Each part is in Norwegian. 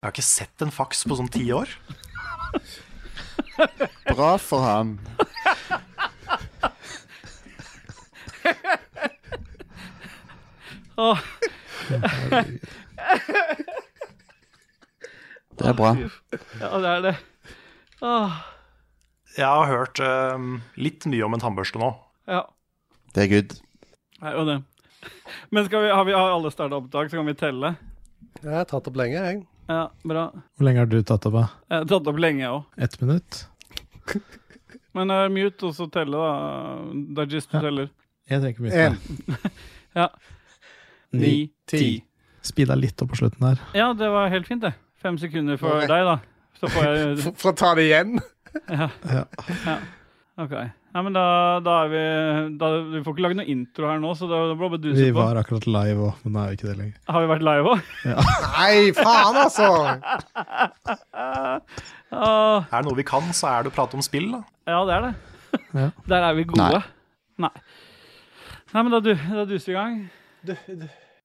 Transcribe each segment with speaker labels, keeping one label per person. Speaker 1: Jeg har ikke sett en faks på sånn ti år.
Speaker 2: Bra for han.
Speaker 3: Åh,
Speaker 2: Det er bra.
Speaker 3: ja, det er det. Åh,
Speaker 1: Jeg har hørt eh, litt mye om en tannbørste nå.
Speaker 3: ja,
Speaker 2: Det er good.
Speaker 3: det er jo det. Men skal vi, har vi har alle starta opptak, så kan vi telle?
Speaker 4: Jeg har tatt opp lenge, jeg.
Speaker 3: Ja, bra.
Speaker 5: Hvor lenge har du tatt opp? da?
Speaker 3: Jeg har tatt opp lenge, jeg òg.
Speaker 5: Ett minutt?
Speaker 3: Men uh, mute og så telle, da. Dajist
Speaker 5: Ja.
Speaker 3: teller.
Speaker 5: Jeg trenger ikke mye.
Speaker 4: En.
Speaker 3: Ni,
Speaker 4: Ni,
Speaker 3: ti.
Speaker 4: ti.
Speaker 5: Speeda litt opp på slutten her.
Speaker 3: Ja, det var helt fint, det. Fem sekunder for
Speaker 4: Nei.
Speaker 3: deg, da. Så får jeg
Speaker 4: For, for å ta det igjen.
Speaker 5: Ja.
Speaker 3: OK. Ja, men da, da er vi da, Vi får ikke lage noe intro her nå, så da, da blir det bare
Speaker 5: Vi
Speaker 3: duset på.
Speaker 5: var akkurat live òg, men nå er vi ikke det lenger.
Speaker 3: Har vi vært live òg?
Speaker 4: Nei, faen, altså!
Speaker 3: Ah.
Speaker 1: Er det noe vi kan, så er det å prate om spill. da.
Speaker 3: ja, det er det.
Speaker 5: Ja.
Speaker 3: Der er vi gode. Nei. Nei, men da, du, da duser vi i gang. Ja,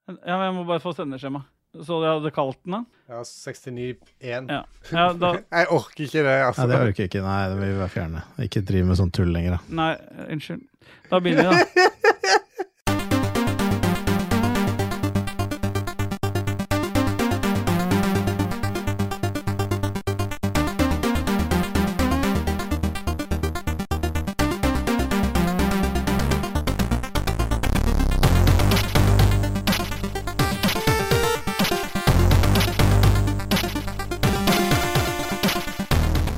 Speaker 3: men Jeg må bare få sendeskjema. Så jeg hadde kalt den, da?
Speaker 4: Ja, 69-1.
Speaker 3: Ja. ja da,
Speaker 4: Jeg orker ikke det, altså.
Speaker 5: Nei, det orker jeg ikke. Nei, det vil vi være fjerne. Ikke drive med sånn tull lenger, da.
Speaker 3: nei, unnskyld. Da begynner vi, da.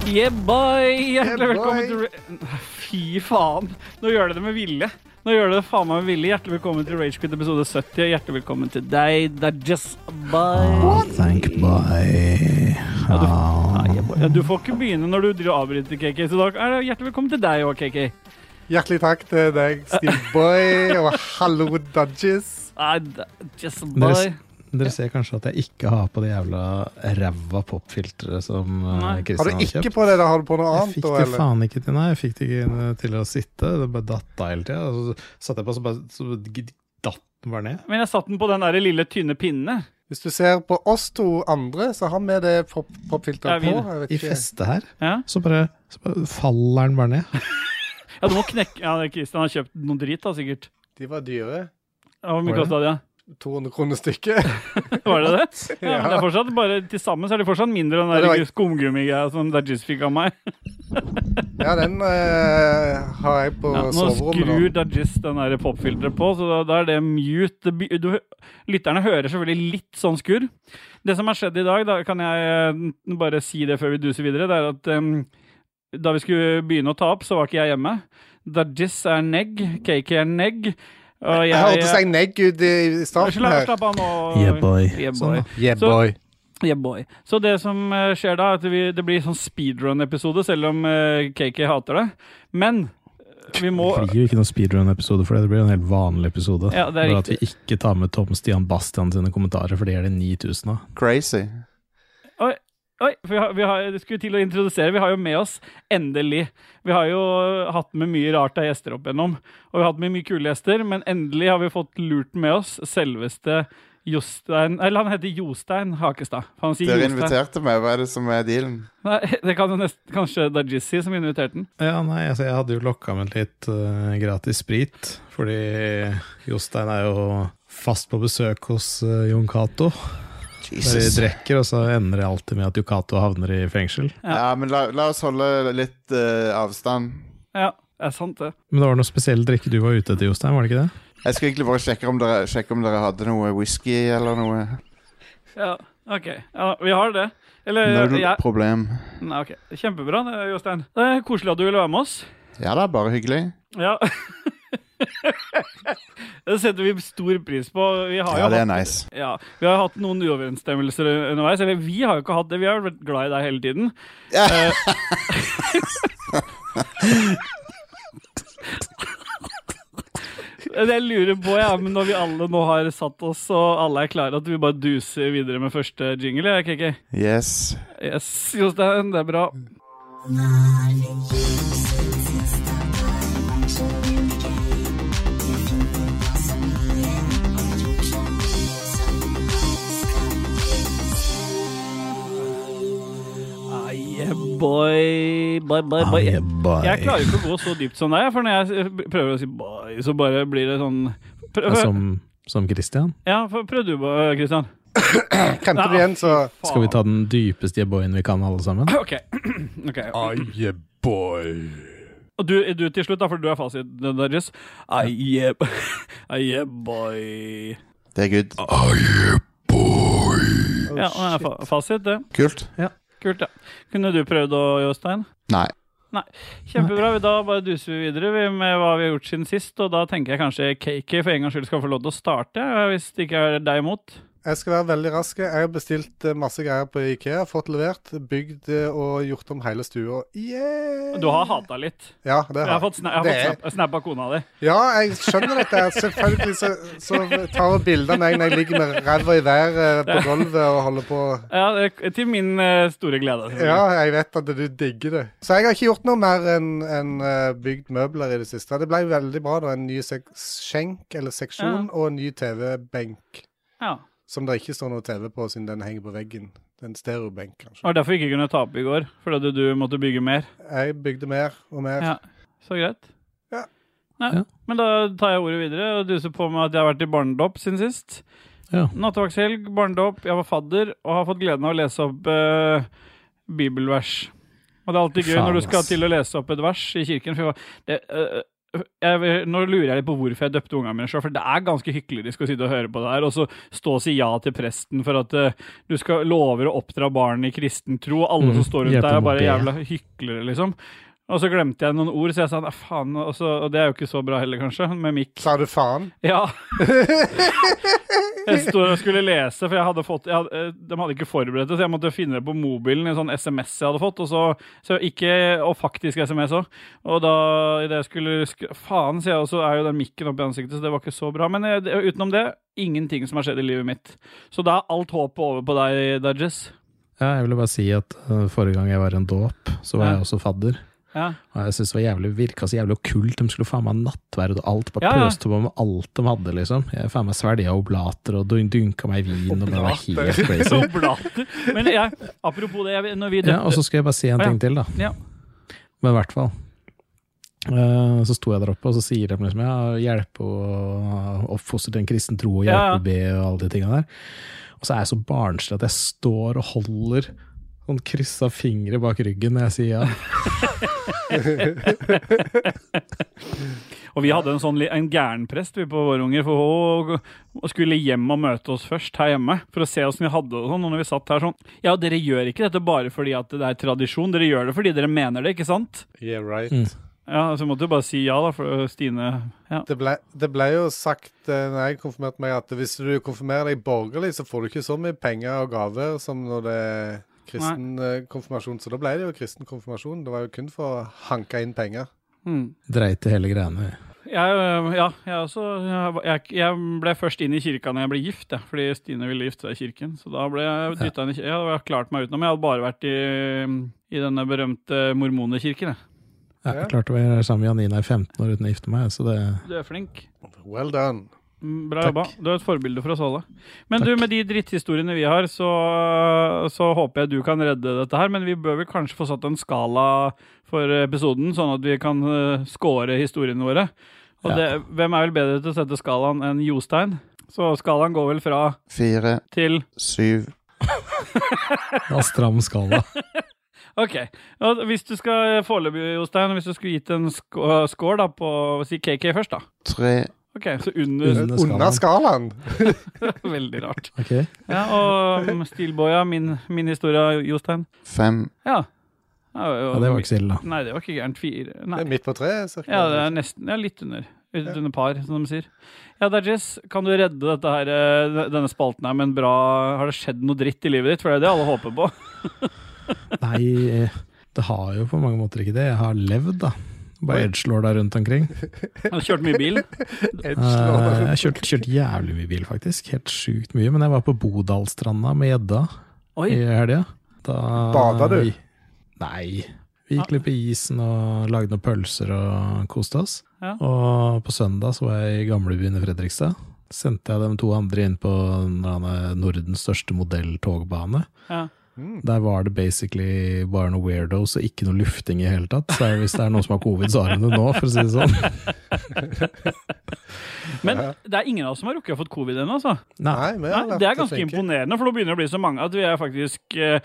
Speaker 3: Yeah, boy! Hjertelig
Speaker 4: Yeah,
Speaker 3: velkommen
Speaker 4: boy!
Speaker 3: til Ra- Nei, Fy faen! Nå gjør det det med vilje. Nå gjør det det faen meg med vilje. Hjertelig velkommen til Ragequit episode 70. og Hjertelig velkommen til deg, Dajess. Bye!
Speaker 5: Thank bye.
Speaker 3: Ja, du, Nei, yeah, boy. ja, du får ikke begynne når du driver og avbryter, KK. Så da er det hjertelig velkommen til deg òg, KK.
Speaker 4: Hjertelig takk til deg, Steve Boy, og hallo, Dudges.
Speaker 3: Nei, Dajess,
Speaker 5: Dere,
Speaker 3: boy.
Speaker 5: s- dere ser kanskje at jeg ikke har på det jævla ræva popfilteret som
Speaker 3: Nei.
Speaker 5: eh,
Speaker 4: Har
Speaker 5: Christian
Speaker 4: du
Speaker 5: har
Speaker 4: ikke
Speaker 5: kjøpt.
Speaker 4: på det? da? Har du på noe
Speaker 5: Jeg
Speaker 4: annet?
Speaker 5: fikk
Speaker 4: da,
Speaker 5: det
Speaker 4: eller?
Speaker 5: faen ikke til, nei. Jeg fikk det ikke eh, til å sitte. Det bare datt av hele tida. Og så satte jeg på, så bare så g- datt den bare ned.
Speaker 3: Men jeg satte den på den der lille, tynne pinne.
Speaker 4: Hvis du ser på oss to andre, så har vi det pop-
Speaker 3: Ja,
Speaker 4: popfilteret
Speaker 3: vi-
Speaker 4: på. Jeg vet
Speaker 5: I
Speaker 4: ikke.
Speaker 5: festet her,
Speaker 3: Ja,
Speaker 5: så bare, så bare faller den bare ned.
Speaker 3: ja du må knekke Ja, Christian har kjøpt noe drit, da, sikkert.
Speaker 4: De var dyre.
Speaker 3: Ja, Hvor mye
Speaker 5: Var det?
Speaker 3: kosta det?
Speaker 4: 200 kroner stykket.
Speaker 3: Var det det? Ja, men det er fortsatt bare, Til sammen så er det fortsatt mindre enn den
Speaker 4: Det var-
Speaker 3: der skumgummigreia som Dajis fikk av meg.
Speaker 4: Ja, den eh, har jeg på
Speaker 3: Ja, nå skrur
Speaker 4: soverommet. nå.
Speaker 3: Dajis den der popfilteret på, så da, da er det mute. Det by- Du, lytterne hører selvfølgelig litt sånn skurr. Det som har skjedd i dag, da kan jeg eh, bare si det før vi duser videre, det er at em, da vi skulle begynne å ta opp, så var ikke jeg hjemme. Dajis er negg, KK er negg. Og jeg,
Speaker 4: Jeg hørte seg negg ut i i starten
Speaker 3: Slapp
Speaker 4: her.
Speaker 3: slapp av nå.
Speaker 5: Yeah, boy.
Speaker 3: Yeah,
Speaker 5: Sånn,
Speaker 3: boy.
Speaker 5: da.
Speaker 4: Yeah,
Speaker 3: Så-
Speaker 4: boy.
Speaker 3: Yeah, boy. Så det som eh, skjer da, er at vi, det blir sånn speedrun-episode, selv om eh, KK hater det. Men eh, vi må
Speaker 5: Det blir jo ikke noen speedrun-episode for det. Det blir jo en helt vanlig episode.
Speaker 3: Ja, det er
Speaker 5: Bare at vi ikke tar med Tom Stian Bastian sine kommentarer, for det er det 9000 av.
Speaker 2: Crazy.
Speaker 3: Oi, for vi har, vi har, det skulle til å introdusere. Vi har jo med oss, endelig Vi har jo hatt med mye rart av gjester opp igjennom. Og vi har hatt med mye kule gjester, men endelig har vi fått lurt med oss selveste Jostein Eller han heter Jostein Hakestad. Han sier
Speaker 2: Dere
Speaker 3: Jostein.
Speaker 2: inviterte meg. Hva er det som er dealen?
Speaker 3: Nei, det kan jo nest, kanskje Dajis si, som inviterte den.
Speaker 5: Ja, nei, altså, jeg hadde jo lokka med litt eh, gratis sprit, fordi Jostein er jo fast på besøk hos eh, Jon Cato. Der de
Speaker 2: Jesus.
Speaker 5: drikker, og så ender det alltid med at Jon Cato havner i fengsel.
Speaker 2: Ja, men la, la oss holde litt eh, avstand.
Speaker 3: Ja, det er sant, det.
Speaker 5: Men det var noe spesiell drikke du var ute etter, Jostein, var det ikke det?
Speaker 2: Jeg skulle egentlig bare sjekke om dere, sjekke om dere hadde noe whisky eller noe.
Speaker 3: Ja, OK. Ja, vi har det.
Speaker 2: Det
Speaker 3: Eller
Speaker 2: er
Speaker 3: jeg,
Speaker 2: noe problem.
Speaker 3: Nei, ok. Kjempebra, det, Jostein. Det er koselig at du ville være med oss.
Speaker 2: Ja da, bare hyggelig.
Speaker 3: Ja. det setter vi stor pris på. Vi har
Speaker 2: Ja,
Speaker 3: jo
Speaker 2: det er
Speaker 3: hatt,
Speaker 2: nice.
Speaker 3: ja, vi har hatt noen uoverensstemmelser underveis. Eller vi har jo ikke hatt det, vi har vært glad i deg hele tiden.
Speaker 2: Ja.
Speaker 3: Eh, Det jeg lurer på, ja, men når vi alle nå har satt oss og alle er klare, at vi bare duser videre med første jingle, ja, KK?
Speaker 2: Yes.
Speaker 3: Yes, Jostein, det er bra. Yeah, boy. Bye, bye, bye. Jeg, jeg klarer ikke å gå så dypt som deg, for når jeg prøver å si bye, så bare blir det sånn
Speaker 5: Det er
Speaker 3: prøv,
Speaker 5: Som, som Christian.
Speaker 3: Ja, for- prøv du, Kristian.
Speaker 4: Kremter du igjen, så
Speaker 5: Skal vi ta den dypeste jeboyen vi kan, alle sammen?
Speaker 3: OK. Ok.
Speaker 6: Aye, boy.
Speaker 3: Og du, du til slutt, da, for du er fasiten deres. I yeah, I yeah boy.
Speaker 2: Det er good.
Speaker 3: ja, det er fa fasit, det.
Speaker 2: Kult.
Speaker 3: Kult, ja. Kunne du prøvd å, Jostein?
Speaker 2: Nei.
Speaker 3: Kjempebra. vi Da bare duser vi videre vi, med hva vi har gjort siden sist. Og da tenker jeg kanskje Cakey for en gangs skyld skal få lov til å starte, eh, hvis det ikke er deg imot.
Speaker 4: Jeg skal være veldig rask. Jeg har bestilt eh, masse greier på Ikea, fått levert, bygd eh, og gjort om hele stua. Yeah!
Speaker 3: Du har hata litt.
Speaker 4: Ja, det
Speaker 3: Jeg
Speaker 4: har
Speaker 3: har fått, sna jeg har
Speaker 4: Det er-
Speaker 3: fått snap, snap av kona di.
Speaker 4: Ja, jeg skjønner dette. her. Selvfølgelig så, så tar hun bilder av meg når jeg ligger med ræva i været eh, på gulvet og holder på.
Speaker 3: Ja, det- til min eh, store glede.
Speaker 4: Ja, jeg vet at du digger det. Så jeg har ikke gjort noe mer enn enn, eh, bygd møbler i det siste. Det ble veldig bra, da. En ny sek skjenk, eller seksjon, og en ny TV-benk.
Speaker 3: Ja.
Speaker 4: Som det ikke står noe TV på, siden den henger på veggen. Den stereobenk,
Speaker 3: Det
Speaker 4: kanskje.
Speaker 3: var derfor vi ikke kunne tape i går, fordi du måtte bygge mer.
Speaker 4: Jeg bygde mer og mer.
Speaker 3: Ja, Så greit.
Speaker 4: Ja.
Speaker 3: Nei,
Speaker 5: Ja.
Speaker 3: Men da tar jeg ordet videre og duser på med at jeg har vært i barnedåp siden sist.
Speaker 5: Ja.
Speaker 3: Nattevaktshelg, barnedåp, jeg var fadder og har fått gleden av å lese opp eh, bibelvers. Og det er alltid gøy
Speaker 5: Faen,
Speaker 3: når du skal
Speaker 5: ass.
Speaker 3: til å lese opp et vers i kirken. For jeg var, det, eh, jeg, nå lurer jeg litt på hvorfor jeg døpte ungene mine sjøl, for det er ganske hyklerisk å sitte og høre på det her, og så stå og si ja til presten for at eh, du skal lover å oppdra barn i kristen tro, og alle
Speaker 5: Mm,
Speaker 3: som står rundt
Speaker 5: hjelpe
Speaker 3: deg,
Speaker 5: dem
Speaker 3: er
Speaker 5: å
Speaker 3: bare
Speaker 5: be.
Speaker 3: jævla hyklere, liksom. Og så glemte jeg noen ord, så jeg sa nei, faen, og, så, og det er jo ikke så bra heller, kanskje, med mikk.
Speaker 4: Sa du faen?
Speaker 3: Ja. jeg sto og skulle lese, for jeg hadde fått jeg hadde, eh, De hadde ikke forberedt det, så jeg måtte finne det på mobilen i en sånn SMS jeg hadde fått. Og så, så ikke, og faktisk SMS òg. Og da i det jeg skulle sk Faen, sier jeg, og så er jo den mikken opp i ansiktet, så det var ikke så bra. Men eh, det- utenom det, ingenting som har skjedd i livet mitt. Så da er alt håpet over på deg, Dudges.
Speaker 5: Ja, jeg ville bare si at eh, forrige gang jeg var i en dåp, så var
Speaker 3: Ja.
Speaker 5: jeg også fadder.
Speaker 3: Ja.
Speaker 5: Og jeg synes det var jævlig, virka så jævlig okkult. De skulle faen meg ha nattverd og alt. Bare
Speaker 3: Ja, ja.
Speaker 5: pøste på med alt de hadde, liksom. Jeg faen meg svelga oblater og dun- dunka meg i vin og bare var helt crazy.
Speaker 3: Oblater. Men jeg, apropos det, jeg, når vi
Speaker 5: Ja, og
Speaker 3: døpte
Speaker 5: så skal jeg bare si en
Speaker 3: Å, ja.
Speaker 5: ting til, da.
Speaker 3: Ja.
Speaker 5: Men i hvert fall. Eh, Så sto jeg der oppe, og så sier de liksom ja, hjelpe å oppfostre til en kristen tro og hjelpe
Speaker 3: Ja, ja.
Speaker 5: å be og alle de tinga der. Og så er jeg så barnslig at jeg står og holder sånn kryssa fingre bak ryggen når jeg sier ja.
Speaker 3: Og vi hadde en sånn li- en gærenprest vi på våre unger, for hun og skulle hjem og møte oss først her hjemme. For å se åssen vi hadde det og sånn. Og når vi satt her sånn Ja, dere gjør ikke dette bare fordi at det er tradisjon, dere gjør det fordi dere mener det, ikke sant?
Speaker 4: Yeah, right.
Speaker 5: Mm.
Speaker 3: Ja, så måtte du bare si ja, da, for øh, Stine Ja.
Speaker 4: Det ble, det ble jo sagt eh, når jeg konfirmerte meg, at hvis du konfirmerer deg borgerlig, så får du ikke så mye penger og gaver som når det er kristen eh, konfirmasjon. Så da ble det jo kristen konfirmasjon. Det var jo kun for å hanke inn penger.
Speaker 3: Mm.
Speaker 5: Dreit i hele greiene.
Speaker 3: Jeg, øh, ja, jeg også jeg, jeg- jeg ble først inn i kirka når jeg ble gift, jeg, fordi Stine ville gifte seg i kirken. Så da ble jeg dytta inn i kirka. Jeg hadde klart meg utenom. Jeg hadde bare vært i, i denne berømte mormonekirken, jeg.
Speaker 5: Jeg
Speaker 4: Ja.
Speaker 5: klarte å være sammen med Janina i 15 år uten å gifte meg, så det
Speaker 3: Du er flink.
Speaker 4: Well done.
Speaker 3: Mm, Bra
Speaker 5: Takk.
Speaker 3: jobba. Du er et forbilde for oss alle. Men
Speaker 5: Takk.
Speaker 3: du, med de dritthistoriene vi har, så, så håper jeg du kan redde dette her. Men vi bør vel kanskje få satt en skala for episoden, sånn at vi kan eh, score historiene våre. Og
Speaker 5: Ja.
Speaker 3: det, hvem er vel bedre til å sette skalaen enn Jostein? Så skalaen går vel fra
Speaker 2: Fire,
Speaker 3: til
Speaker 2: syv
Speaker 5: det var stram skala.
Speaker 3: OK. Ja, Hvis du skal foreløpig, Jostein, hvis du skulle gitt en sk- eh, score da på Si KK først, da.
Speaker 2: Tre.
Speaker 3: OK, så under
Speaker 5: Under
Speaker 4: Under skalaen!
Speaker 3: Veldig rart.
Speaker 5: Ok,
Speaker 3: Ja, og mm, Steelboya, min, min historie, Jostein.
Speaker 2: Fem.
Speaker 3: Ja. Ja,
Speaker 5: ja, Det var ikke så ille, da.
Speaker 3: Nei, det var ikke gærent. Fire
Speaker 4: Det
Speaker 3: Nei.
Speaker 4: er midt på treet, cirka.
Speaker 3: Ja, det er nesten ja, litt under. Litt under par, som de sier. Ja, Dajis, kan du redde dette her, eh, denne spalten her med en bra Har det skjedd noe dritt i livet ditt? For det er det alle håper på.
Speaker 5: Nei, eh, det har jo på mange måter ikke det. Jeg har levd, da. Bare edgelorda rundt omkring.
Speaker 3: Jeg har kjørt mye bil.
Speaker 5: Eh, jeg kjørte kjørt jævlig mye bil, faktisk. Helt sjukt mye. Men jeg var på Bodalstranda med gjedda
Speaker 3: Oi.
Speaker 5: i helga. Da-
Speaker 4: Bada du?
Speaker 5: Nei. Vi gikk litt på isen og lagde noen pølser og koste oss.
Speaker 3: Ja.
Speaker 5: Og på søndag så var jeg i gamlebyen i Fredrikstad. Sendte jeg de to andre inn på den der Nordens største eh, modelltogbane.
Speaker 3: Ja.
Speaker 4: Mm.
Speaker 5: Der var det basically bare noe weirdos og ikke noe lufting i hele tatt. Så hvis det er noen som har covid, så har de det nå, for å si det sånn.
Speaker 3: Men det er ingen av oss som har rukket å fått covid ennå, altså.
Speaker 5: Nei.
Speaker 4: Nei, vi har
Speaker 3: Nei,
Speaker 4: vært
Speaker 3: det er ganske
Speaker 4: flinke.
Speaker 3: imponerende, for nå begynner det å bli så mange at vi er faktisk eh,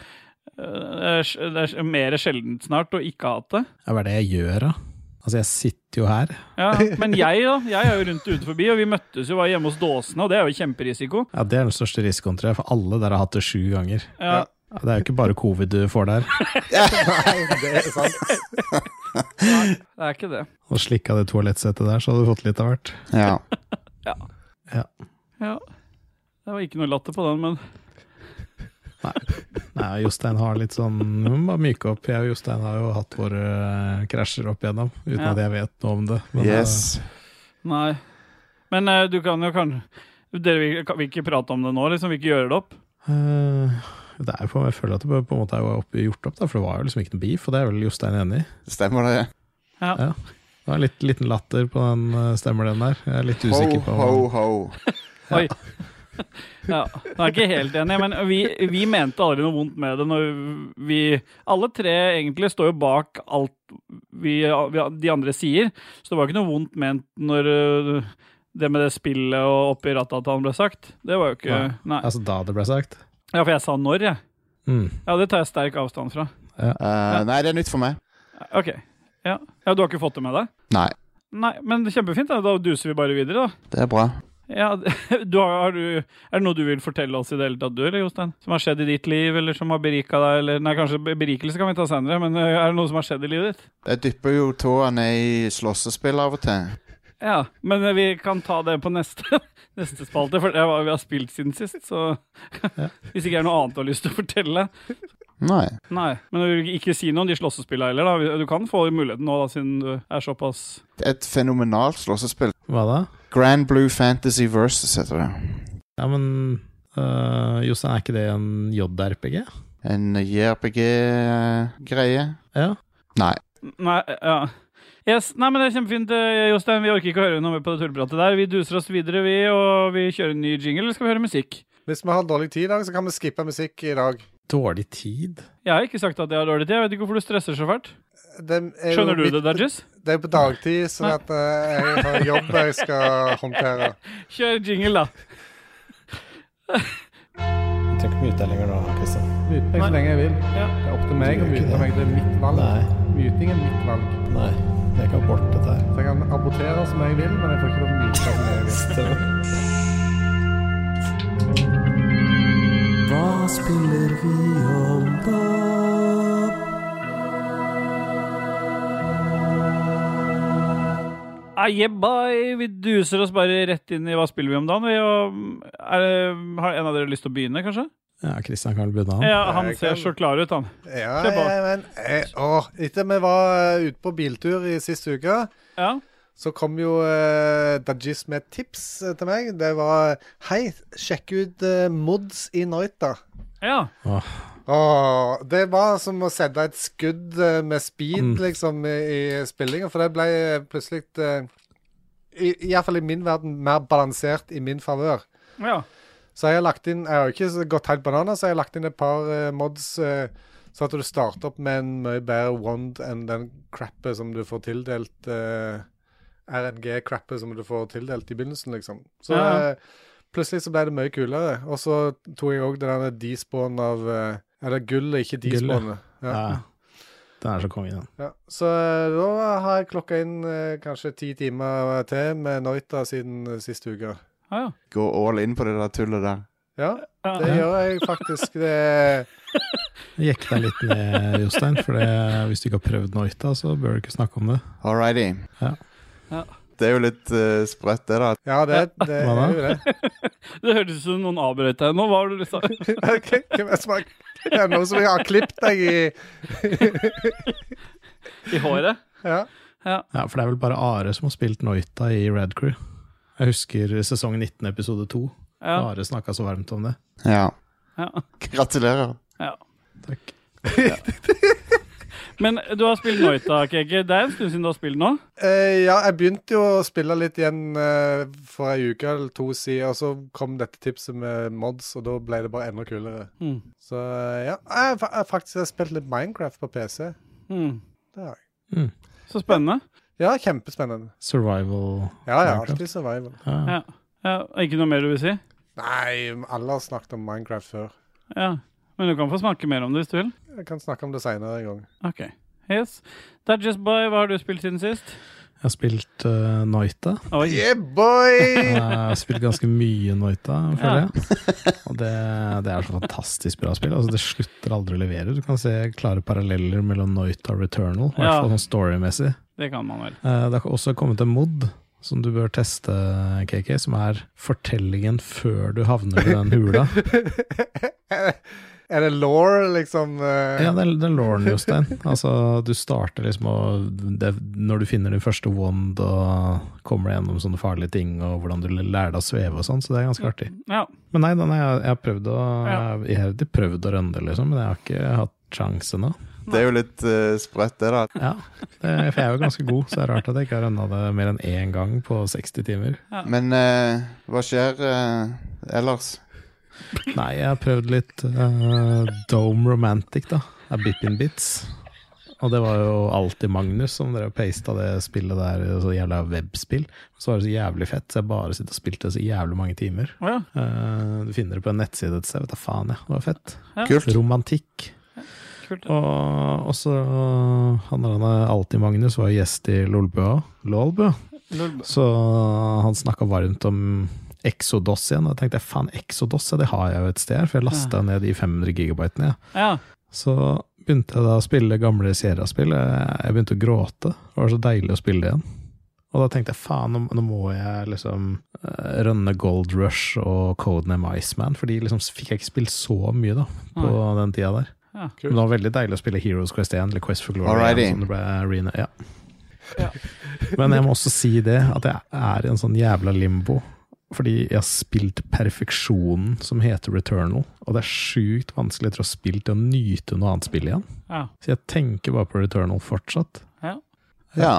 Speaker 3: eh, det er mer sjeldent snart å ikke ha hatt det.
Speaker 5: Ja, Hva er det jeg gjør, da? Altså, jeg sitter jo her.
Speaker 3: Ja, men jeg da, jeg er jo rundt ute forbi, og vi møttes jo var hjemme hos Dåsene, og det er jo kjemperisiko.
Speaker 5: Ja, Det er den største risikoen, tror jeg, for alle der har hatt det sju ganger.
Speaker 3: Ja,
Speaker 5: Ja, Det er jo ikke bare covid du får der.
Speaker 4: Nei, det er sant.
Speaker 3: det er ikke det.
Speaker 5: Og slikka det toalettsettet der, så hadde du fått litt av hvert.
Speaker 2: Ja.
Speaker 3: Ja. Det var ikke noe latter på den, men
Speaker 5: Nei, Jostein har litt sånn vi må Bare myke opp. Jeg og Jostein har jo hatt våre eh, krasjer opp igjennom, uten
Speaker 3: Ja.
Speaker 5: at jeg vet noe om det. Men, eh,
Speaker 2: Yes.
Speaker 3: nei. Men eh, du kan jo kanskje Dere vil, kan, vil ikke prate om det nå, liksom? Vil ikke gjøre det opp?
Speaker 5: eh, det er jo på, jeg føler at det på en måte er jo opp, gjort opp, da, for det var jo liksom ikke noe beef, og det er vel Jostein enig i.
Speaker 2: Stemmer det?
Speaker 3: Ja.
Speaker 5: Ja. Det var litt liten latter på den eh, stemmer, den der. Jeg er litt
Speaker 2: Ho,
Speaker 5: usikker på
Speaker 2: ho, ho.
Speaker 3: Oi. Ja, jeg er ikke helt enig, men vi, vi mente aldri noe vondt med det. Når vi, alle tre egentlig står jo bak alt vi, vi, de andre sier, så det var ikke noe vondt ment når øh, det med det spillet og oppi rattatalen ble sagt. Det var jo ikke
Speaker 5: Nei.
Speaker 3: Nei.
Speaker 5: Altså da det ble sagt.
Speaker 3: Ja, for jeg sa når, jeg.
Speaker 5: Mm.
Speaker 3: Ja, det tar jeg sterk avstand fra.
Speaker 2: Eh, nei, det er nytt for meg.
Speaker 3: OK. Ja, ja du har ikke fått det med deg?
Speaker 2: Nei,
Speaker 3: Nei, men kjempefint. Da, da duser vi bare videre, da.
Speaker 2: det er bra.
Speaker 3: Ja, du har, har du, er det noe du vil fortelle oss i det hele tatt, du eller Jostein? Som har skjedd i ditt liv, eller som har berika deg? Eller, nei, kanskje be- berikelse kan vi ta senere, men ø, er det noe som har skjedd i livet ditt?
Speaker 2: Jeg dypper jo tåene i slåssespill av og til.
Speaker 3: Ja, men ø, vi kan ta det på neste, neste spalte, for det er hva vi har spilt siden sist. Så hvis ikke det er noe annet du har lyst til å fortelle
Speaker 2: Nei.
Speaker 3: Nei, men du vil ikke si noe om de slåssespillene heller, da. Du kan få muligheten nå, da, siden du er såpass
Speaker 2: Et fenomenalt slåssespill.
Speaker 5: Hva da?
Speaker 2: Grand Blue Fantasy Versus heter det.
Speaker 5: Ja, men øh, Jostein, er ikke det en JRPG?
Speaker 2: En JRPG-greie.
Speaker 5: Ja.
Speaker 2: Nei.
Speaker 3: Nei, ja. Yes. Nei, men det er kjempefint, eh, Jostein. Vi orker ikke å høre noe mer på det tullpratet der. Vi duser oss videre, vi, og vi kjører en ny jingle, eller skal vi høre musikk?
Speaker 4: Hvis vi har dårlig tid i dag, så kan vi skippe musikk i dag.
Speaker 5: Dårlig tid?
Speaker 3: Jeg har ikke sagt at jeg har dårlig tid. Jeg vet ikke hvorfor du stresser så fælt.
Speaker 4: Det er jo
Speaker 3: Skjønner du
Speaker 4: midt-
Speaker 3: det, Dodges?
Speaker 4: Det er på dagtid, så at, eh, jeg har jobb jeg skal håndtere.
Speaker 3: Kjør jingle, da.
Speaker 5: Jeg trenger ikke mute deg lenger nå, Kristian.
Speaker 4: Myte meg så lenge jeg vil.
Speaker 3: Ja.
Speaker 4: Det er opp til meg å myte meg. Det er mitt valg. Myting er mitt valg.
Speaker 5: nei. Det er ikke abort, dette her.
Speaker 4: Så jeg kan abortere som jeg vil, men jeg får ikke lov til å myte som jeg vil.
Speaker 3: Ah, yeah, bye. Vi duser oss bare rett inn i hva spiller vi om dagen. Vi, og, mm, er det, har en av dere lyst til å begynne, kanskje?
Speaker 5: Ja, Kristian kan vel begynne, han.
Speaker 3: Ja, han
Speaker 4: Jeg
Speaker 3: ser
Speaker 4: kan.
Speaker 3: så klar ut, han.
Speaker 4: Ja,
Speaker 3: Kjør på.
Speaker 4: ja, men eh, åh, Etter vi var eh, ute på biltur i sist uke,
Speaker 3: Ja.
Speaker 4: så kom jo eh, Dajis med et tips eh, til meg. Det var Hei, sjekk ut eh, Mods i Noita.
Speaker 3: ja.
Speaker 4: Åh, det var som å sette et skudd eh, med speed, liksom, i, i spillingen. For det ble eh, plutselig eh, i, i hvert fall i min verden mer balansert i min favør.
Speaker 3: ja.
Speaker 4: Så jeg har lagt inn Jeg har jo ikke så gått helt banana, så jeg har lagt inn et par eh, mods. eh, så at du starter opp med en mye bedre wand enn den crappet som du får tildelt eh, RNG-crappet som du får tildelt i begynnelsen, liksom. Så
Speaker 3: Ja.
Speaker 4: eh, plutselig så ble det mye kulere. Og så tok jeg òg det der despawn av eh, Eller gullet, ikke
Speaker 5: Gullet.
Speaker 4: despawnet.
Speaker 5: Ja. Den er så konge, den.
Speaker 4: Ja, så eh, da har jeg klokka inn eh, kanskje ti timer til med Noita siden eh, sist uke.
Speaker 3: Ja, ja.
Speaker 2: Gå all in på det der tullet der.
Speaker 4: Ja,
Speaker 3: Ja.
Speaker 4: det gjør jeg faktisk. Det
Speaker 5: Jekk deg litt ned, Jostein, for det, hvis du ikke har prøvd Noita, så bør du ikke snakke om det.
Speaker 2: Alrighty.
Speaker 5: Ja.
Speaker 3: Ja.
Speaker 2: Det er jo litt eh, sprøtt, det, da.
Speaker 4: Ja, det, det
Speaker 5: Hva da?
Speaker 4: er jo det.
Speaker 3: Det hørtes ut som noen avbrøt deg nå. Hva var det du sa?
Speaker 4: Ok, hvem er det som har- det er noen som har klippet deg i
Speaker 3: I håret?
Speaker 4: ja.
Speaker 5: Ja, For det er vel bare Are som har spilt Noita i Red Crew. Jeg husker sesong 19, episode 2.
Speaker 3: Ja.
Speaker 5: Are snakka så varmt om det.
Speaker 2: Ja.
Speaker 3: ja.
Speaker 2: Gratulerer.
Speaker 5: Takk.
Speaker 3: Men du har spilt Noita, Keke. Det er en stund siden du har spilt nå.
Speaker 4: Eh, ja, jeg begynte jo å spille litt igjen eh, for ei uke eller to siden, og så kom dette tipset med mods, og da ble det bare enda kulere.
Speaker 3: Mm.
Speaker 4: Så eh, ja, jeg, fa- jeg faktisk har spilt litt Minecraft på PC.
Speaker 3: Mm.
Speaker 4: Det har jeg.
Speaker 3: Så spennende.
Speaker 4: Ja, kjempespennende.
Speaker 5: Survival
Speaker 4: Ja, ja,
Speaker 5: Minecraft.
Speaker 4: alltid survival.
Speaker 5: Ja.
Speaker 3: Ja. Ja, ikke noe mer du vil si?
Speaker 4: Nei, alle har snakket om Minecraft før.
Speaker 3: Ja. Men du kan få snakke mer om det hvis du vil.
Speaker 4: Jeg kan snakke om det seinere en gang.
Speaker 3: Ok. Yes. Dodges Boy, hva har du spilt siden sist?
Speaker 5: Jeg har spilt uh, Noita.
Speaker 3: Oi.
Speaker 4: Yeah, boy!
Speaker 5: Jeg har spilt ganske mye Noita, føler
Speaker 3: Ja.
Speaker 5: jeg. Og det, det er så fantastisk bra spill. Altså, det slutter aldri å levere. Du kan se klare paralleller mellom Noita og Returnal, i hvert
Speaker 3: Ja.
Speaker 5: fall sånn storymessig.
Speaker 3: Det kan man vel.
Speaker 5: Eh, Det har også kommet en mod som du bør teste, KK, som er fortellingen før du havner i den hula.
Speaker 4: er det law, liksom? eh?
Speaker 5: Ja, det er, det er loren, Jostein. Altså, du starter liksom og det, Når du finner din første wand og kommer gjennom sånne farlige ting, og hvordan du lærer deg å sveve og sånn, så det er ganske artig.
Speaker 3: Ja.
Speaker 5: Men nei, den har jeg, jeg har prøvd å
Speaker 3: Ja.
Speaker 5: Jeg har ikke prøvd å rønde, liksom, men jeg har ikke hatt sjanse nå.
Speaker 2: Det er jo litt eh, sprøtt, det, da.
Speaker 5: Ja, det, for jeg er jo ganske god, så det er rart at jeg ikke har rønda det mer enn én gang på 60 timer.
Speaker 2: Men eh, hva skjer eh, ellers?
Speaker 5: Nei, jeg har prøvd litt eh, Dome Romantic, da. Av Bippin Bits. Og det var jo alltid Magnus som drev og pasta det spillet der, så jævla webspill. Så var det så jævlig fett, så jeg bare sitter og spilte det så jævlig mange timer.
Speaker 3: Å ja.
Speaker 5: Eh, du finner det på en nettside et sted, vet da faen, jeg. Det var fett.
Speaker 3: Ja.
Speaker 2: Kult.
Speaker 5: Romantikk.
Speaker 3: Kult.
Speaker 5: Og også han der han er alltid Magnus var jo gjest i Lolbua. Lolbua.
Speaker 3: Lol.
Speaker 5: Så han snakka varmt om Exodos igjen. Og jeg tenkte faen, Exodos ja, det har jeg jo et sted her, for jeg lasta ned de 500 gigabytene. Ja.
Speaker 3: Ja.
Speaker 5: Så begynte jeg da å spille gamle Sierra-spill. Jeg jeg begynte å gråte. Det var så deilig å spille det igjen. Og da tenkte jeg faen, nå, nå må jeg liksom eh, rønne Gold Rush og Codename Iceman, for de liksom fikk jeg ikke spilt så mye da på den tida der.
Speaker 3: Ja.
Speaker 5: Men det var veldig deilig å spille Heroes Quest 1 eller Quest for Glory.
Speaker 2: Alrighty.
Speaker 5: 1, som det ble arena. Ja.
Speaker 3: Ja.
Speaker 5: Men jeg må også si det, at jeg er i en sånn jævla limbo. Fordi jeg har spilt perfeksjonen som heter Returnal, og det er sjukt vanskelig etter å ha spilt og nyte noe annet spill igjen.
Speaker 3: Ja.
Speaker 5: Så jeg tenker bare på Returnal fortsatt.
Speaker 2: Ja.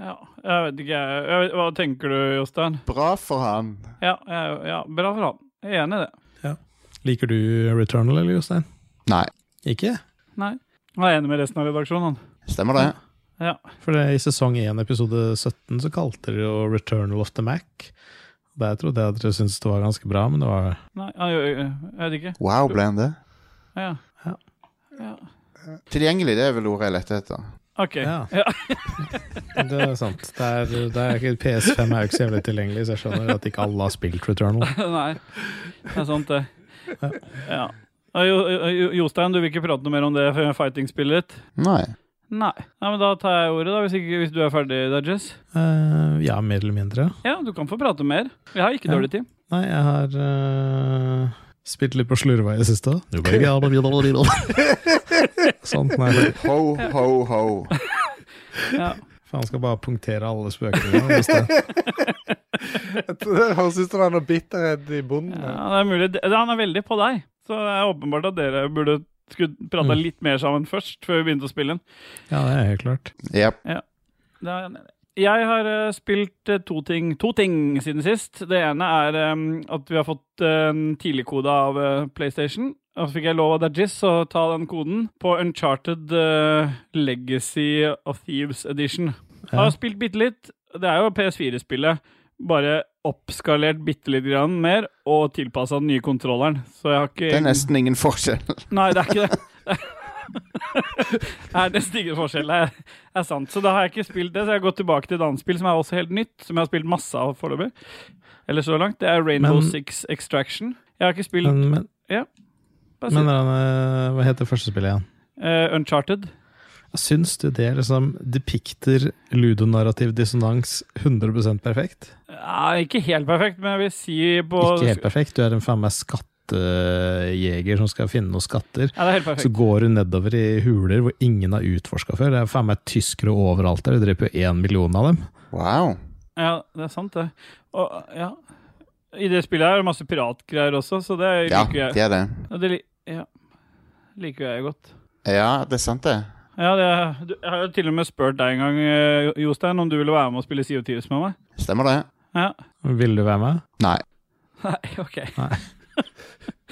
Speaker 3: ja. Jeg vet ikke, jeg. jeg. vet- Hva tenker du, Jostein?
Speaker 2: Bra for han.
Speaker 3: Ja, jeg- ja, bra for han. Jeg er enig i det.
Speaker 5: Liker du Returnal, eller Jostein?
Speaker 2: Nei,
Speaker 5: Ikke?
Speaker 3: Nei. Han er enig med resten av redaksjonen, han.
Speaker 2: stemmer det.
Speaker 3: Ja.
Speaker 5: For det, i sesong 1, episode 17, så kalte dere jo Returnal of the Mac. Der trodde jeg at dere syntes det var ganske bra, men det var
Speaker 3: Nei, han gjør Jeg vet ikke.
Speaker 2: Wow, ble han det?
Speaker 3: Ja.
Speaker 5: Ja.
Speaker 3: ja.
Speaker 2: Tilgjengelig, det er vel ordet jeg lette etter.
Speaker 3: OK.
Speaker 5: Ja.
Speaker 3: Ja.
Speaker 5: Det er sant. Det er, det er ikke, PS5 er jo ikke så jævlig tilgjengelig, så jeg skjønner at ikke alle har spilt Returnal.
Speaker 3: Nei, det er sant, det. Ja. Og Jo, Jo- Jostein, du vil ikke prate noe mer om det for fighting-spillet ditt?
Speaker 2: Nei.
Speaker 3: Nei. Nei, men Da tar jeg ordet, da, hvis, ikke, hvis du er ferdig, Dudges.
Speaker 5: Eh, ja, mer eller mindre.
Speaker 3: Ja, du kan få prate mer. Jeg har ikke
Speaker 5: Ja.
Speaker 3: dårlig tid.
Speaker 5: Nei, jeg har eh, spilt litt på slurva i det siste. Sånn, nei.
Speaker 2: Ho, ho, ho.
Speaker 3: Ja.
Speaker 5: Faen, skal bare punktere alle spøkene. hvis det-
Speaker 4: Det høres ut som det er noe bitterhet i bunnen. her.
Speaker 3: Ja, det er mulig. Det- Han er veldig på deg, så det er åpenbart at dere burde skulle prata
Speaker 5: Mm.
Speaker 3: litt mer sammen først, før vi begynte å spille den.
Speaker 5: Ja, det er helt klart.
Speaker 2: Jep.
Speaker 3: Det er jeg enig i. Jeg har eh, spilt eh, to ting, to ting siden sist. Det ene er eh, at vi har fått eh, en tidligkode av eh, PlayStation. Og så fikk jeg lov av Dajis å ta den koden på Uncharted eh, Legacy of Thieves Edition. Jeg
Speaker 5: Ja.
Speaker 3: har spilt bitte litt. Det er jo PS4-spillet. Bare oppskalert bitte litt grann mer og tilpassa den nye kontrolleren. Så jeg har ikke
Speaker 2: Det er nesten ingen forskjell.
Speaker 3: Nei, det er ikke det. Det er nesten ingen forskjell. Det er- er sant. Så da har jeg ikke spilt det, så jeg har gått tilbake til et annet spill som er også helt nytt, som jeg har spilt masse av foreløpig. Eller så langt. Det er Rainbow
Speaker 5: Men-
Speaker 3: Six Extraction. Jeg har ikke spilt
Speaker 5: Men, men,
Speaker 3: bare
Speaker 5: men
Speaker 3: siden.
Speaker 5: eh, hva heter første spillet igjen?
Speaker 3: Eh, Uncharted.
Speaker 5: Syns du det liksom depikter ludonarrativ dissonans 100 perfekt?
Speaker 3: Ja, ikke helt perfekt, men jeg vil si på
Speaker 5: Ikke helt perfekt. Du er en faen meg skattejeger som skal finne noen skatter.
Speaker 3: Ja, det er helt
Speaker 5: Så
Speaker 3: perfekt.
Speaker 5: går du nedover i huler hvor ingen har utforska før. Det er faen meg tyskere overalt der. Du dreper jo én million av dem.
Speaker 2: Wow.
Speaker 3: Ja, det er sant, det. Og, ja. I det spillet her er det masse piratgreier også, så det
Speaker 2: Ja,
Speaker 3: liker jeg.
Speaker 2: det er det.
Speaker 3: Og det li ja. liker jeg godt.
Speaker 2: Ja, det er sant, det.
Speaker 3: Ja, det, du, jeg har jo til og med spurt deg en gang, eh, Jostein, om du ville være med og spille CO2 med meg.
Speaker 2: Stemmer det?
Speaker 3: Ja.
Speaker 5: Vil du være med?
Speaker 2: Nei.
Speaker 3: Nei, ok.
Speaker 5: Nei.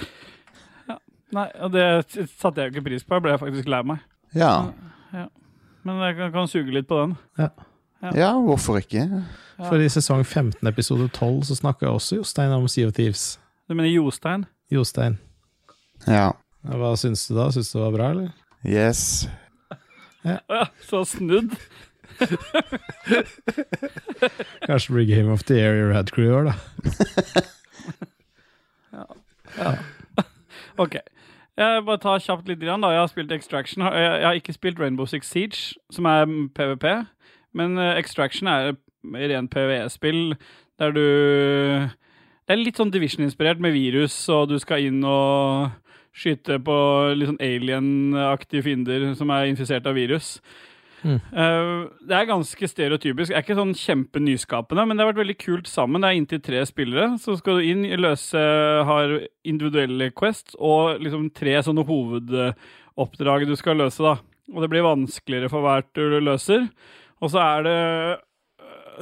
Speaker 3: ja, nei, og det s- satte jeg jo ikke pris på. Jeg ble faktisk lei meg.
Speaker 2: Ja.
Speaker 3: Men jeg kan, kan suge litt på den.
Speaker 2: ja, hvorfor ikke?
Speaker 3: Ja.
Speaker 5: For i sesong 15, episode 12, så snakka også Jostein om Sea of Thieves.
Speaker 3: Du mener Jostein?
Speaker 5: Jostein,
Speaker 2: Ja.
Speaker 5: hva syns du da? Syns du det var bra, eller?
Speaker 2: Yes.
Speaker 3: Å ja, så snudd.
Speaker 5: Kanskje det blir Game of the Year i Rad Crew i år, da.
Speaker 3: Ok. Jeg bare tar kjapt litt grann, da. Jeg har spilt Extraction. Jeg, jeg har ikke spilt Rainbow Six Siege, som er mm, PVP. Men eh, Extraction er et rent PVE-spill der du Det er litt sånn Division-inspirert med virus, og du skal inn og skyte på litt sånn alien-aktige fiender som er infisert av virus.
Speaker 5: Mm.
Speaker 3: Eh, det er ganske stereotypisk. Det er ikke sånn kjempenyskapende, men det har vært veldig kult sammen. Det er inntil tre spillere. Så skal du inn, løse har individuelle quest og liksom tre sånne hovedoppdrag du skal løse, da. Og det blir vanskeligere for hvert du løser. Og så er det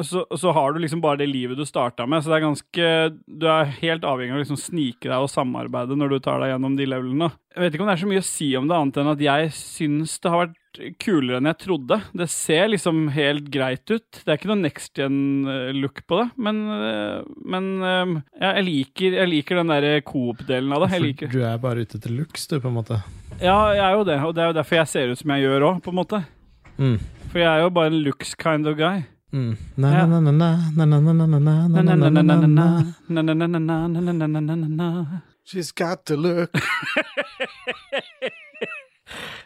Speaker 3: så, så har du liksom bare det livet du starta med, så det er ganske Du er helt avhengig av å liksom snike deg og samarbeide når du tar deg gjennom de levelene. Jeg vet ikke om det er så mye å si om det, annet enn at jeg syns det har vært kulere enn jeg trodde. Det ser liksom helt greit ut. Det er ikke noe next gen-look på det, men, eh, men eh, ja, jeg, liker, jeg liker den derre coop-delen av det. Jeg liker.
Speaker 5: For du er bare ute etter looks, du, på en måte.
Speaker 3: Ja, jeg er jo det, og det er jo derfor jeg ser ut som jeg gjør òg, på en måte.
Speaker 5: Mm.
Speaker 3: For jeg er jo bare en looks kind of guy.
Speaker 5: Mm.
Speaker 3: Ja.
Speaker 5: Na-na-na-na-na-na-na-na-na-na-na-na-na-na.
Speaker 3: Na-na-na-na-na-na-na-na-na-na-na-na-na.
Speaker 4: She's got the look.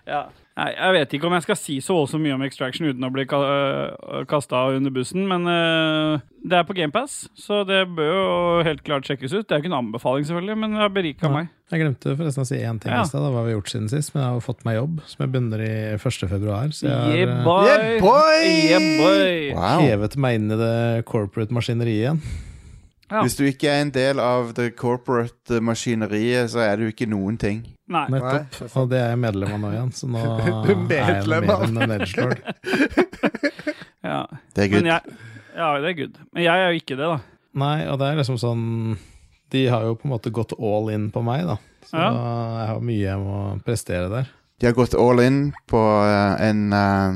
Speaker 3: Ja. Nei, jeg vet ikke om jeg skal si så voldsomt mye om Extraction uten å bli kasta under bussen, men øh, det er på GamePass, så det bør jo helt klart sjekkes ut. Det er jo ikke en anbefaling, selvfølgelig, men det har berika
Speaker 5: Ja.
Speaker 3: meg.
Speaker 5: Jeg glemte forresten å si én ting
Speaker 3: Ja.
Speaker 5: i stad, da, hva vi har gjort siden sist. Men jeg har jo fått meg jobb, som jeg begynner i 1. februar. Så jeg
Speaker 3: Yeah,
Speaker 5: har eh,
Speaker 3: boy!
Speaker 4: Yeah, boy!
Speaker 3: Yeah, boy!
Speaker 2: Wow.
Speaker 5: hevet meg inn i det corporate maskineriet igjen.
Speaker 3: Ja.
Speaker 2: Hvis du ikke er en del av det corporate eh, maskineriet, så er du ikke noen ting.
Speaker 3: Nei.
Speaker 5: Nettopp.
Speaker 4: det er sant.
Speaker 5: Og det er jeg medlem av nå igjen, så nå er
Speaker 4: Du
Speaker 5: jeg
Speaker 4: er medlem
Speaker 5: mer
Speaker 4: av-
Speaker 5: enn en edgelord.
Speaker 3: Ja.
Speaker 2: Det er
Speaker 3: Men
Speaker 2: good.
Speaker 3: jeg, ja, det er good. Men jeg er jo ikke det, da.
Speaker 5: Nei, og det er liksom sånn De har jo på en måte gått all in på meg, da. Så
Speaker 3: Ja.
Speaker 5: jeg har mye jeg må prestere der.
Speaker 2: De har gått all in på eh, en eh,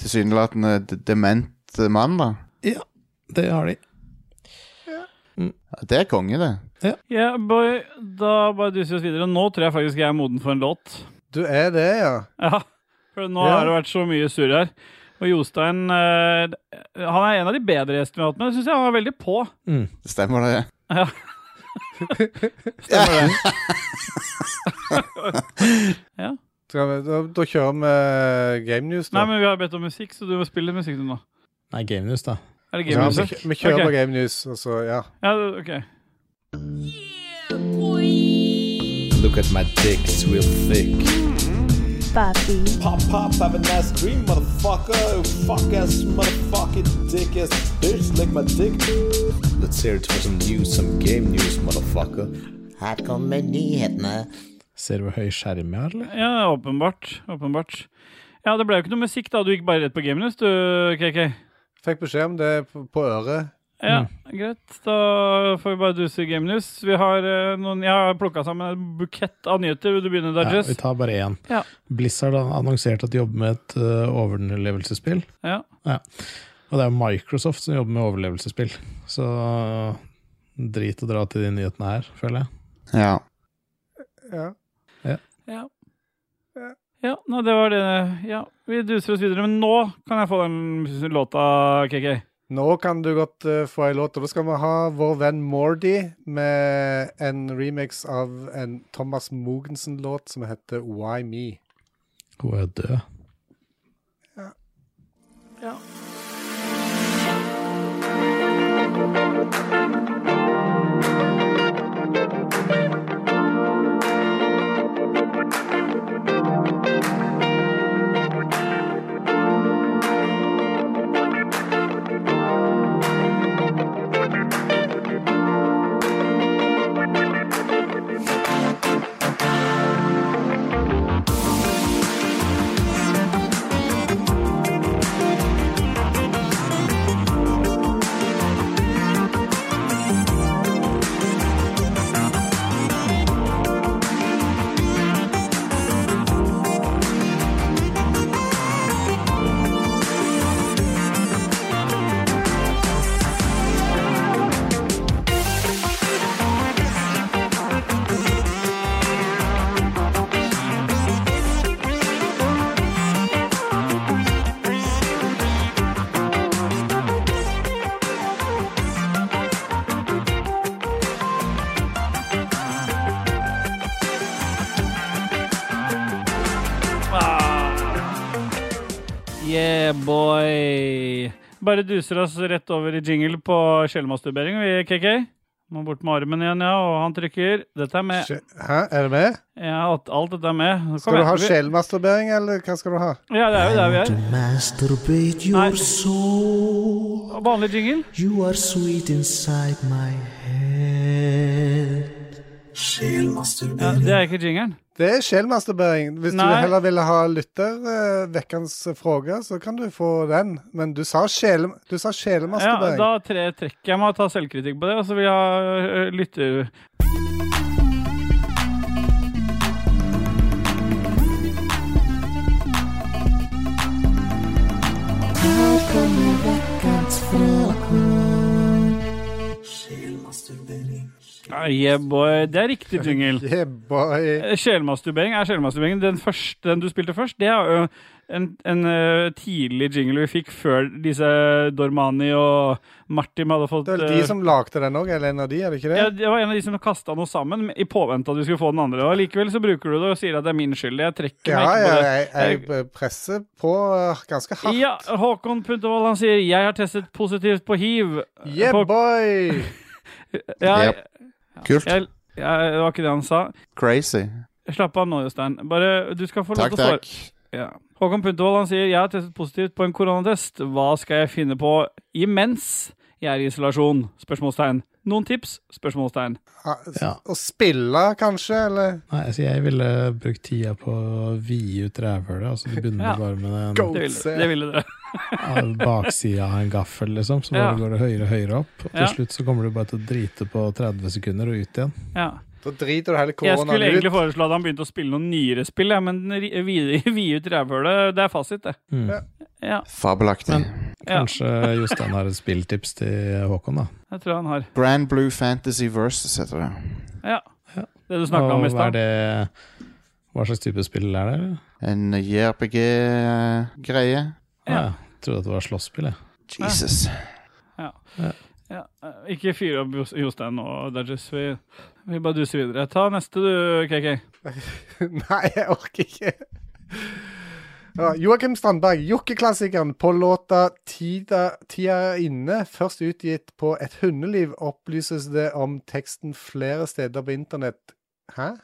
Speaker 2: tilsynelatende d- dement eh, mann, da.
Speaker 5: Det har de.
Speaker 2: Det er konge, det.
Speaker 3: Yeah, boy. Da bare duser vi oss videre. Nå tror jeg faktisk jeg er moden for en låt.
Speaker 4: Du er det, ja.
Speaker 3: Ja, for nå
Speaker 4: Ja.
Speaker 3: har det vært så mye surr her. Og Jostein eh, Han er en av de bedre gjestene vi har hatt med. Syns jeg han var veldig på.
Speaker 5: Mm.
Speaker 2: Stemmer det?
Speaker 3: Ja.
Speaker 2: Stemmer det.
Speaker 4: Skal vi, da, da kjører vi Game News,
Speaker 3: Nei,
Speaker 4: da.
Speaker 3: men vi har bedt om musikk, så du må spille musikk du nå.
Speaker 5: Nei, Game News, da.
Speaker 3: Er det
Speaker 4: ja,
Speaker 3: gamemusikk?
Speaker 4: Altså, vi, vi kjører
Speaker 3: Ok.
Speaker 4: på Game News, og så ja.
Speaker 3: Ja, du- ok.
Speaker 7: Look at my dick, it's real thick.
Speaker 8: Papi.
Speaker 7: Pop, pop, have a nice dream, motherfucker. Fuck ass, motherfucking dick ass bitch, lick my dick. Let's hear it for some news, some game news, motherfucker.
Speaker 9: Her kommer nyhetene.
Speaker 5: Ser du hvor høy skjerm jeg har, eller?
Speaker 3: Ja, åpenbart. Åpenbart. Ja, det ble jo ikke noe musikk, da. Du gikk bare rett på Gamenews, du, KK.
Speaker 4: Fikk beskjed om det på, på øret.
Speaker 3: Ja,
Speaker 4: Mm.
Speaker 3: greit. Da får vi bare duse i Gamenews. Vi har eh, noen Jeg har plukka sammen en bukett av nyheter. Vil du begynne,
Speaker 5: Ja,
Speaker 3: Dodges?
Speaker 5: vi tar bare én.
Speaker 3: Ja.
Speaker 5: Blizzard har annonsert at de jobber med et uh, overlevelsesspill.
Speaker 3: Ja.
Speaker 5: Og det er jo Microsoft som jobber med overlevelsesspill. Så uh, drit å dra til de nyhetene her, føler jeg.
Speaker 2: Ja.
Speaker 4: Ja.
Speaker 3: Ja. Ja, nei, det var det. Ja, Vi duser oss videre, men nå kan jeg få den låta, KK.
Speaker 4: Nå kan du godt eh, få ei låt, og da skal vi ha vår venn Mordy med en remix av en Thomas Mogensen-låt som heter Why Me.
Speaker 5: Hun er jo død.
Speaker 3: Ah. Yeah, boy! Bare duser oss rett over i jingle på skjellmasturbering, vi, KK. Må bort med armen igjen, ja, og han trykker. Dette er med.
Speaker 4: Skje- Hæ, er det med?
Speaker 3: Ja, alt, alt dette er med. Kom
Speaker 4: Skal du
Speaker 3: igjen,
Speaker 4: ha
Speaker 3: vi-
Speaker 4: skjellmasturbering, eller hva skal du ha?
Speaker 3: Ja, det er jo der vi er.
Speaker 9: To masturbate your
Speaker 3: Nei.
Speaker 9: soul.
Speaker 3: Vanlig jingle.
Speaker 9: You are sweet inside my head.
Speaker 3: Ja,
Speaker 9: Skjellmasturbering.
Speaker 3: det er ikke jingelen.
Speaker 4: Det er skjellmasturbering. Hvis
Speaker 3: Nei.
Speaker 4: du heller ville ha lyttervekkens uh, fråge, så kan du få den. Men du sa, sjel, du sa
Speaker 3: Ja,
Speaker 4: skjellmasturbering.
Speaker 3: da tre, trekker jeg meg og tar selvkritikk på det, og så vil jeg ha ø, lytter... Ah, yeah, boy. Det er riktig jingle.
Speaker 4: Yeah, boy.
Speaker 3: Eh, Sjelmasturbering er sjelmasturbering. Den, første, den du spilte først, det er jo en, en eh, tidlig jingle vi fikk før disse Dormani og Martim hadde fått
Speaker 4: Det er vel
Speaker 3: eh,
Speaker 4: de som lagde den òg, eller en av de, er det ikke det?
Speaker 3: ja, det var en av de som kasta noe sammen i påvente av at vi skulle få den andre. Og Likevel så bruker du det og sier at det er min skyld. Jeg trekker
Speaker 4: Ja,
Speaker 3: meg ikke
Speaker 4: ja,
Speaker 3: på det.
Speaker 4: jeg, jeg presser på eh, ganske hardt.
Speaker 3: Ja, Håkon Puntervold han sier 'jeg har testet positivt på hiv'.
Speaker 4: Yeah,
Speaker 3: på,
Speaker 4: boy!
Speaker 3: ja, jeg,
Speaker 2: Kult.
Speaker 3: jeg, det var ikke det han sa.
Speaker 2: Crazy.
Speaker 3: Slapp av nå, Jostein. Bare, du skal få lov
Speaker 2: Takk,
Speaker 3: til å svare.
Speaker 2: takk.
Speaker 3: Ja. Håkon Puntervold han sier 'Jeg har testet positivt på en koronatest. Hva skal jeg finne på imens jeg er i isolasjon?' Spørsmålstegn. Noen tips? Spørsmålstegn.
Speaker 4: Ah, s-
Speaker 5: Ja.
Speaker 4: Å spille, kanskje? Eller
Speaker 5: Nei, altså jeg ville brukt tida på å vide ut rævhølet. Altså du begynner
Speaker 3: Ja.
Speaker 5: bare med
Speaker 4: Go.
Speaker 5: den
Speaker 3: Det ville,
Speaker 4: Se.
Speaker 3: det ville dere.
Speaker 5: av baksida av en gaffel, liksom. Så
Speaker 3: Ja.
Speaker 5: bare går det høyere og høyere opp. Og til
Speaker 3: Ja.
Speaker 5: slutt så kommer du bare til å drite på 30 sekunder og ut igjen.
Speaker 3: Ja.
Speaker 4: Da driter du hele
Speaker 3: Jeg skulle
Speaker 4: koronaen
Speaker 3: egentlig
Speaker 4: ut.
Speaker 3: foreslå at han begynte å spille noen nyere spill, ja, men ri- vide vide ut rævhølet, det er fasit, det.
Speaker 5: Mm.
Speaker 4: Ja.
Speaker 3: Ja,
Speaker 2: Fabelaktig.
Speaker 3: ja,
Speaker 5: Kanskje Jostein har et spilltips til Håkon, da.
Speaker 3: jeg tror han har.
Speaker 2: Grand Blue Fantasy Versus heter det.
Speaker 3: Ja.
Speaker 5: Ja.
Speaker 3: Det du snakka om i
Speaker 5: Og hva er
Speaker 3: stad.
Speaker 5: det Hva slags type spill er det? eller?
Speaker 2: En JRPG-greie.
Speaker 3: Ja.
Speaker 5: Ah, jeg trodde at det var slåsspill, jeg.
Speaker 2: Jesus.
Speaker 3: Ah. Ja. eh, Ikke fyr opp Jos- Jostein nå, Dodges. Vi, vi bare duser videre. Ta neste, du, KK.
Speaker 4: Nei, jeg orker ikke. Ja, Joakim Strandberg, jokkeklassikeren på låta 'Tida, Tida er inne', først utgitt på Et hundeliv, opplyses det om teksten flere steder på internett. Hæ?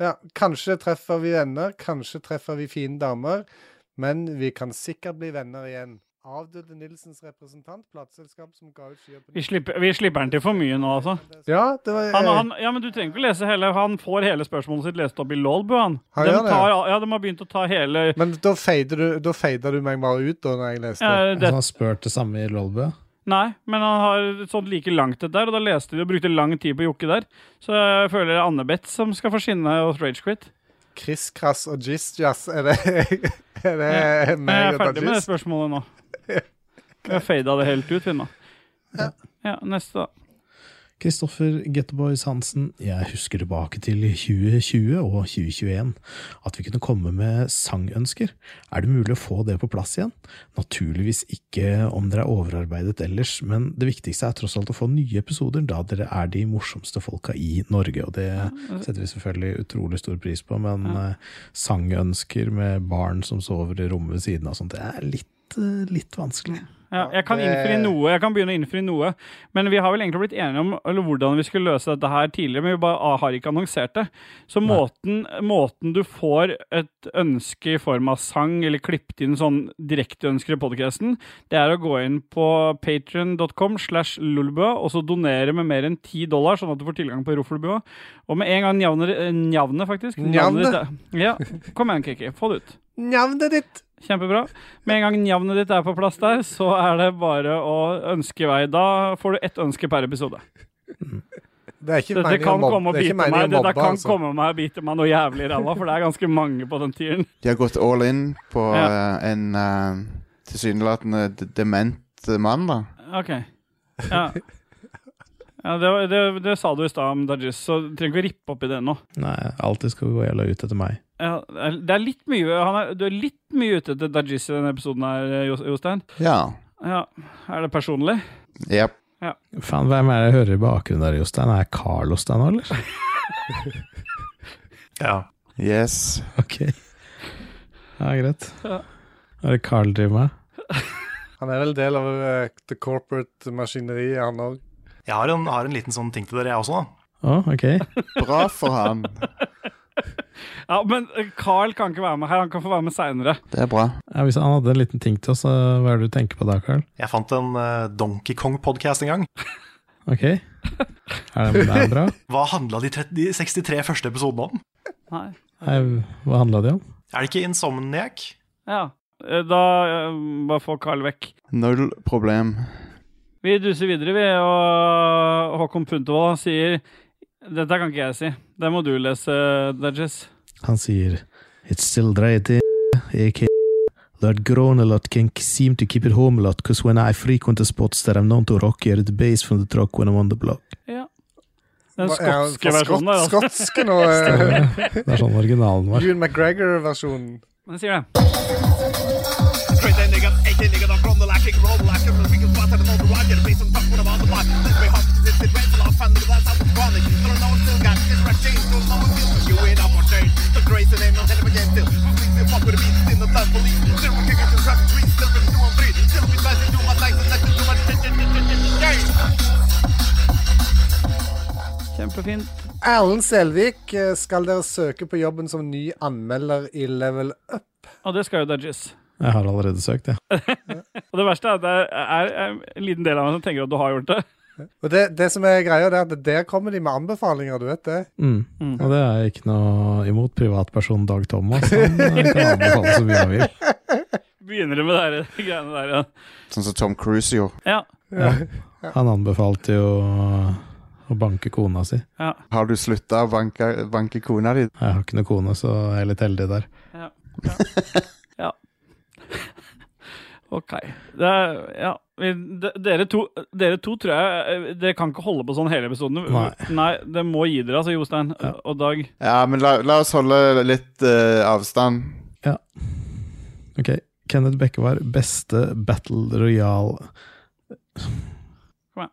Speaker 4: Ja, kanskje treffer vi venner, kanskje treffer vi fine damer, men vi kan sikkert bli venner igjen. Avdøde Nilsens representant, plateselskap som ga ut skyer på
Speaker 3: Vi slipper, vi slipper han til for mye nå, altså.
Speaker 4: Ja, det var eh,
Speaker 3: Han, han, ja, men Du trenger ikke lese hele. Han får hele spørsmålet sitt lest opp i Lolbu. Han.
Speaker 4: Han
Speaker 3: de,
Speaker 4: gjør det, ja.
Speaker 3: tar, ja, de har begynt å ta hele ja,
Speaker 4: Men da fader du, da fader du meg bare ut, da, når jeg leste.
Speaker 5: Altså,
Speaker 3: eh, det,
Speaker 5: han spurte det samme i Lolbø.
Speaker 3: Nei, men han har et sånt like langt et der, og da leste de og brukte lang tid på Jokke der. Så jeg føler det er Anne-Beth som skal få skinne hos Ragequit.
Speaker 4: Chris Krass og Jizz Jazz, er det, er det
Speaker 3: Men jeg
Speaker 4: Eh, meg
Speaker 3: er
Speaker 4: og
Speaker 3: ferdig med det
Speaker 4: Dajis?
Speaker 3: spørsmålet nå. Vi har fada det helt ut, vi nå. Ja, neste, da.
Speaker 5: Kristoffer Getteboys Hansen, jeg husker tilbake til 2020 og 2021, at vi kunne komme med sangønsker. Er det mulig å få det på plass igjen? Naturligvis ikke om dere er overarbeidet ellers, men det viktigste er tross alt å få nye episoder, da dere er de morsomste folka i Norge, og det setter vi selvfølgelig utrolig stor pris på, men eh, sangønsker med barn som sover i rommet ved siden av sånt, det er litt, eh, litt vanskelig.
Speaker 3: Ja, jeg kan innfri noe, jeg kan begynne å innfri noe. Men vi har vel egentlig blitt enige om eller, hvordan vi skulle løse dette her tidligere, men vi bare ah, har ikke annonsert det. Så måten, måten du får et ønske i form av sang, eller klippet inn sånn direkteønsker i podkasten, det er å gå inn på patrion.com slash lulebua, og så donere med mer enn 10 dollar, sånn at du får tilgang på Roffelbua. Og med en gang njavner, eh, njavnet, faktisk.
Speaker 4: Njavnet?
Speaker 3: Navnet ditt er- Ja. Kom igjen, Kiki. Få det ut.
Speaker 4: Navnet ditt!
Speaker 3: Kjempebra. Med en gang navnet ditt er på plass der, så er det bare å ønske i vei. Da får du ett ønske per episode.
Speaker 4: Det er ikke
Speaker 3: Dette
Speaker 4: meningen å
Speaker 3: kan komme og
Speaker 4: mobbe. Det
Speaker 3: bite
Speaker 4: er ikke meningen
Speaker 3: meg.
Speaker 4: å mobbe,
Speaker 3: Dette kan
Speaker 4: altså.
Speaker 3: komme meg og bite meg noe jævlig i ræva, for det er ganske mange på den tieren.
Speaker 2: De har gått all in på
Speaker 3: Ja.
Speaker 2: eh, en eh, tilsynelatende d- dement eh, mann, da.
Speaker 3: Ok. Ja. Ja, det, var- det, det sa du i stad om Dajis, så du trenger ikke å rippe opp i det nå.
Speaker 5: Nei, alltid skal vi gå jævla ut etter meg.
Speaker 3: Ja, det er litt mye han er, Du er litt mye ute etter Dajis i denne episoden her, Jo- Jostein.
Speaker 2: Ja.
Speaker 3: Ja. Er det personlig?
Speaker 2: Yep.
Speaker 5: Faen, hvem er det jeg hører i bakgrunnen der, Jostein? Er Carlos der nå, eller?
Speaker 1: Ja.
Speaker 2: Yes.
Speaker 5: Ok. Ja, greit.
Speaker 3: Ja.
Speaker 5: Ja. Er det Carl driver med?
Speaker 4: Han er vel del av eh, the corporate maskineriet, han òg.
Speaker 1: Jeg har en, har en liten sånn ting til dere, jeg også. da.
Speaker 5: Å, ok.
Speaker 2: Bra for han.
Speaker 3: Ja, Men eh, Carl kan ikke være med her, han kan få være med seinere.
Speaker 2: Det er bra.
Speaker 5: Ja, hvis han hadde en liten ting til oss, så hva er det du tenker på da, Carl?
Speaker 1: Jeg fant en eh, Donkey Kong-podkast en gang.
Speaker 5: Ok. Er det, det er bra?
Speaker 1: Hva handla de, 30, de 63 første episodene om?
Speaker 3: Nei.
Speaker 5: Nei, hva handla det om?
Speaker 1: Er det ikke Insomniac?
Speaker 3: Ja. Eh, Da eh, bare få Carl vekk.
Speaker 2: Null problem.
Speaker 3: Vi duser videre, vi, og Håkon Puntervold sier Dette kan ikke jeg si. Det må du lese, Dudges.
Speaker 5: Han sier It's still right in AK. Lord Grown a lot can seem to keep it home a lot, cause when I frequent the spots that I'm known to rock here at the base from the truck when I'm on the block.
Speaker 3: Den
Speaker 4: Hva- er han
Speaker 3: skotske
Speaker 4: fra
Speaker 3: versjonen der, altså.
Speaker 4: Skotske nå. eh,
Speaker 5: Det er sånn originalen var.
Speaker 4: Ewan McGregor-versjonen.
Speaker 3: Den sier det. Kjempefint.
Speaker 4: Erlend Selvik, eh, skal dere søke på jobben som ny anmelder i Level Up?
Speaker 3: Og det skal jo Dudges.
Speaker 5: Jeg har allerede søkt, jeg.
Speaker 3: Og det verste er at det er, er en liten del av meg som tenker at du har gjort det.
Speaker 4: Og det, det som er greia, det er at der kommer de med anbefalinger, du vet det.
Speaker 5: Mm. Og det er ikke noe imot privatpersonen Dag Thomas. Han eh, kan anbefale så mye han vil.
Speaker 3: Begynner du med det her, de greiene der, ja.
Speaker 2: Sånn som Tom Cruise gjorde.
Speaker 3: Ja.
Speaker 5: Han anbefalte jo å banke kona si.
Speaker 2: Har du slutta å banke, banke kona di?
Speaker 5: Jeg har ikke noe kone, så jeg er litt heldig der.
Speaker 3: Ok. Det er, ja. vi- de- Dere to, dere to tror jeg eh, Dere kan ikke holde på sånn hele episoden.
Speaker 5: Nei.
Speaker 3: det må gi dere, altså, Jostein
Speaker 5: Ja.
Speaker 3: og Dag.
Speaker 2: Ja, men la, la oss holde litt eh, avstand.
Speaker 5: Ok, Kenneth Bekkevar, beste Battle Royale
Speaker 3: Kom igjen.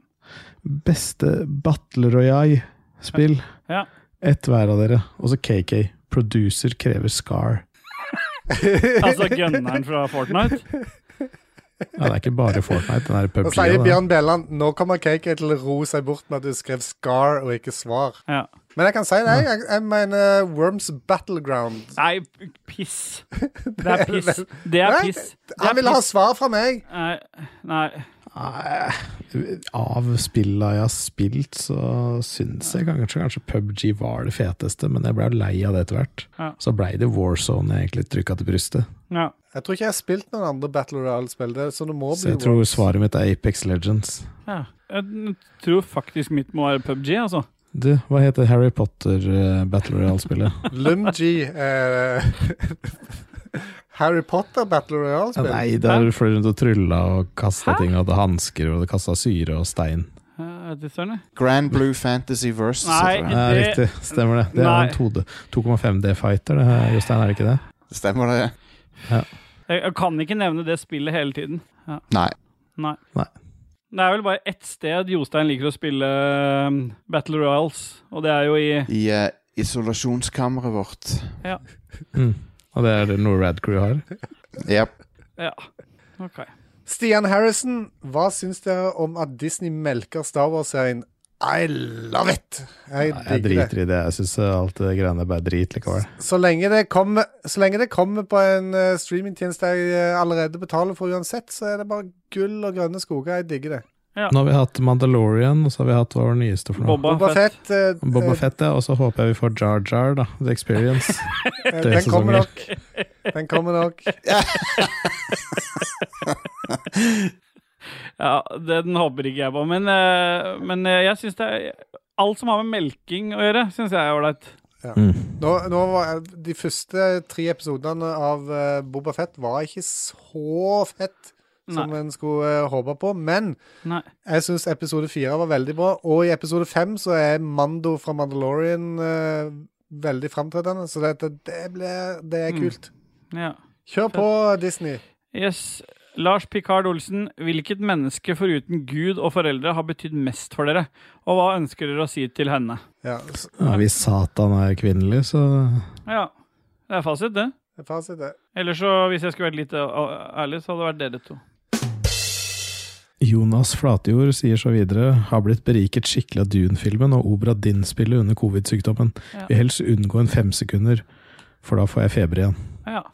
Speaker 5: Beste Battle Royale-spill.
Speaker 3: Ja.
Speaker 5: Ett hver av dere. Og så KK. Producer krever Scar.
Speaker 3: Altså gunneren fra Fortnite.
Speaker 5: Ja, det er ikke bare Fortnite, den er
Speaker 4: Og sier
Speaker 5: PubG. da.
Speaker 4: Bjørn Bjelland nå kommer KK til å roe seg bort med at du skrev Scar og ikke Svar.
Speaker 3: Ja.
Speaker 4: Men jeg kan si det, jeg, jeg mener Worms Battleground.
Speaker 3: Nei, p- piss. Det er piss. Det er
Speaker 4: Nei,
Speaker 3: piss. Det er
Speaker 4: Han ville ha
Speaker 3: piss.
Speaker 4: svar fra meg!
Speaker 3: Nei, nei.
Speaker 5: Nei, Av spilla jeg har spilt, så syns jeg kanskje, kanskje PubG var det feteste, men jeg blei lei av det etter hvert.
Speaker 3: Ja.
Speaker 5: Så blei det Warzone jeg egentlig trykka til brystet.
Speaker 3: Ja.
Speaker 4: Jeg tror ikke jeg har spilt noen andre Battle Royale-spill, det- så det må
Speaker 5: Så
Speaker 4: bli
Speaker 5: jeg tror
Speaker 4: Worms.
Speaker 5: svaret mitt er Apex Legends.
Speaker 3: ja. Jeg tror faktisk mitt må være PubG, altså.
Speaker 5: Du, hva heter Harry Potter eh, Battle Royale-spillet?
Speaker 4: Lumji eh, Harry Potter Battle
Speaker 5: Ja,
Speaker 4: Royale-spill.
Speaker 5: Nei, der fløy rundt og trylla og kasta ting, og hadde hansker og det kasta syre og stein.
Speaker 3: Ja, vet du, Søren.
Speaker 2: Grand Blue Fantasy Versus. altså.
Speaker 3: Nei.
Speaker 2: heter
Speaker 5: Ja,
Speaker 3: Det-
Speaker 5: riktig, stemmer det. Det er
Speaker 3: Nei.
Speaker 5: en 2D 2,5D-fighter, det her, Jostein, er det ikke det?
Speaker 2: det. Stemmer det?
Speaker 3: Jeg jeg kan ikke nevne det spillet hele tiden.
Speaker 2: Nei.
Speaker 3: Nei.
Speaker 5: Nei.
Speaker 3: Det er vel bare ett sted Jostein liker å spille um, Battle Royals, og det er jo i
Speaker 2: I eh, isolasjonskammeret vårt.
Speaker 5: Mm. Og det er det noe Rad Crew har.
Speaker 2: Jep.
Speaker 3: Ja. OK.
Speaker 4: Stian Harrison, hva syns dere om at Disney melker Star Wars-serien I love it! Jeg
Speaker 5: Nei, Jeg
Speaker 4: digger det.
Speaker 5: driter i det. Jeg syns alt det greiene er bare drit likevel.
Speaker 4: Så lenge det kommer, så lenge det kommer på en eh, streamingtjeneste jeg eh, allerede betaler for uansett, så er det bare gull og grønne skoger. Jeg digger det.
Speaker 5: Nå har vi hatt Mandalorian, og så har vi hatt hva var det nyeste for noe?
Speaker 3: Boba,
Speaker 4: Boba
Speaker 3: Fett.
Speaker 4: Fett, eh,
Speaker 5: Boba
Speaker 4: eh,
Speaker 5: Fett, ja. Og så håper jeg vi får Jar Jar, da. The Experience.
Speaker 4: eh,
Speaker 5: tre
Speaker 4: den kommer
Speaker 5: sesonger.
Speaker 4: nok. Den kommer nok.
Speaker 3: Ja, det, den håper ikke jeg på, men, eh, men eh, jeg syns det er Alt som har med melking å gjøre, syns jeg er ålreit.
Speaker 4: Nå, nå var, de første tre episodene av eh, Boba Fett var ikke så fett som
Speaker 3: Nei.
Speaker 4: en skulle eh, håpe på, men
Speaker 3: Nei.
Speaker 4: jeg syns episode fire var veldig bra. Og i episode fem så er Mando fra Mandalorian eh, veldig framtredende, så det, det, det, blir-
Speaker 3: Mm.
Speaker 4: det er kult.
Speaker 3: Ja.
Speaker 4: Kjør på, Disney.
Speaker 3: Yes. Lars Picard Olsen, hvilket menneske foruten Gud og foreldre har betydd mest for dere, og hva ønsker dere å si til henne?
Speaker 4: Ja, s-
Speaker 5: Ja, hvis Satan er kvinnelig, så
Speaker 3: Ja, det er fasit, det.
Speaker 4: Det er fasit, det.
Speaker 3: Ellers så, hvis jeg skulle vært litt uh, ærlig, så hadde det vært dere to.
Speaker 5: Jonas Flatjord sier så videre har blitt beriket skikkelig av Dune-filmen og Obra Dinn-spillet under covid-sykdommen.
Speaker 3: Ja.
Speaker 5: Vil helst unngå en femsekunder, for da får jeg feber igjen.
Speaker 3: Ja.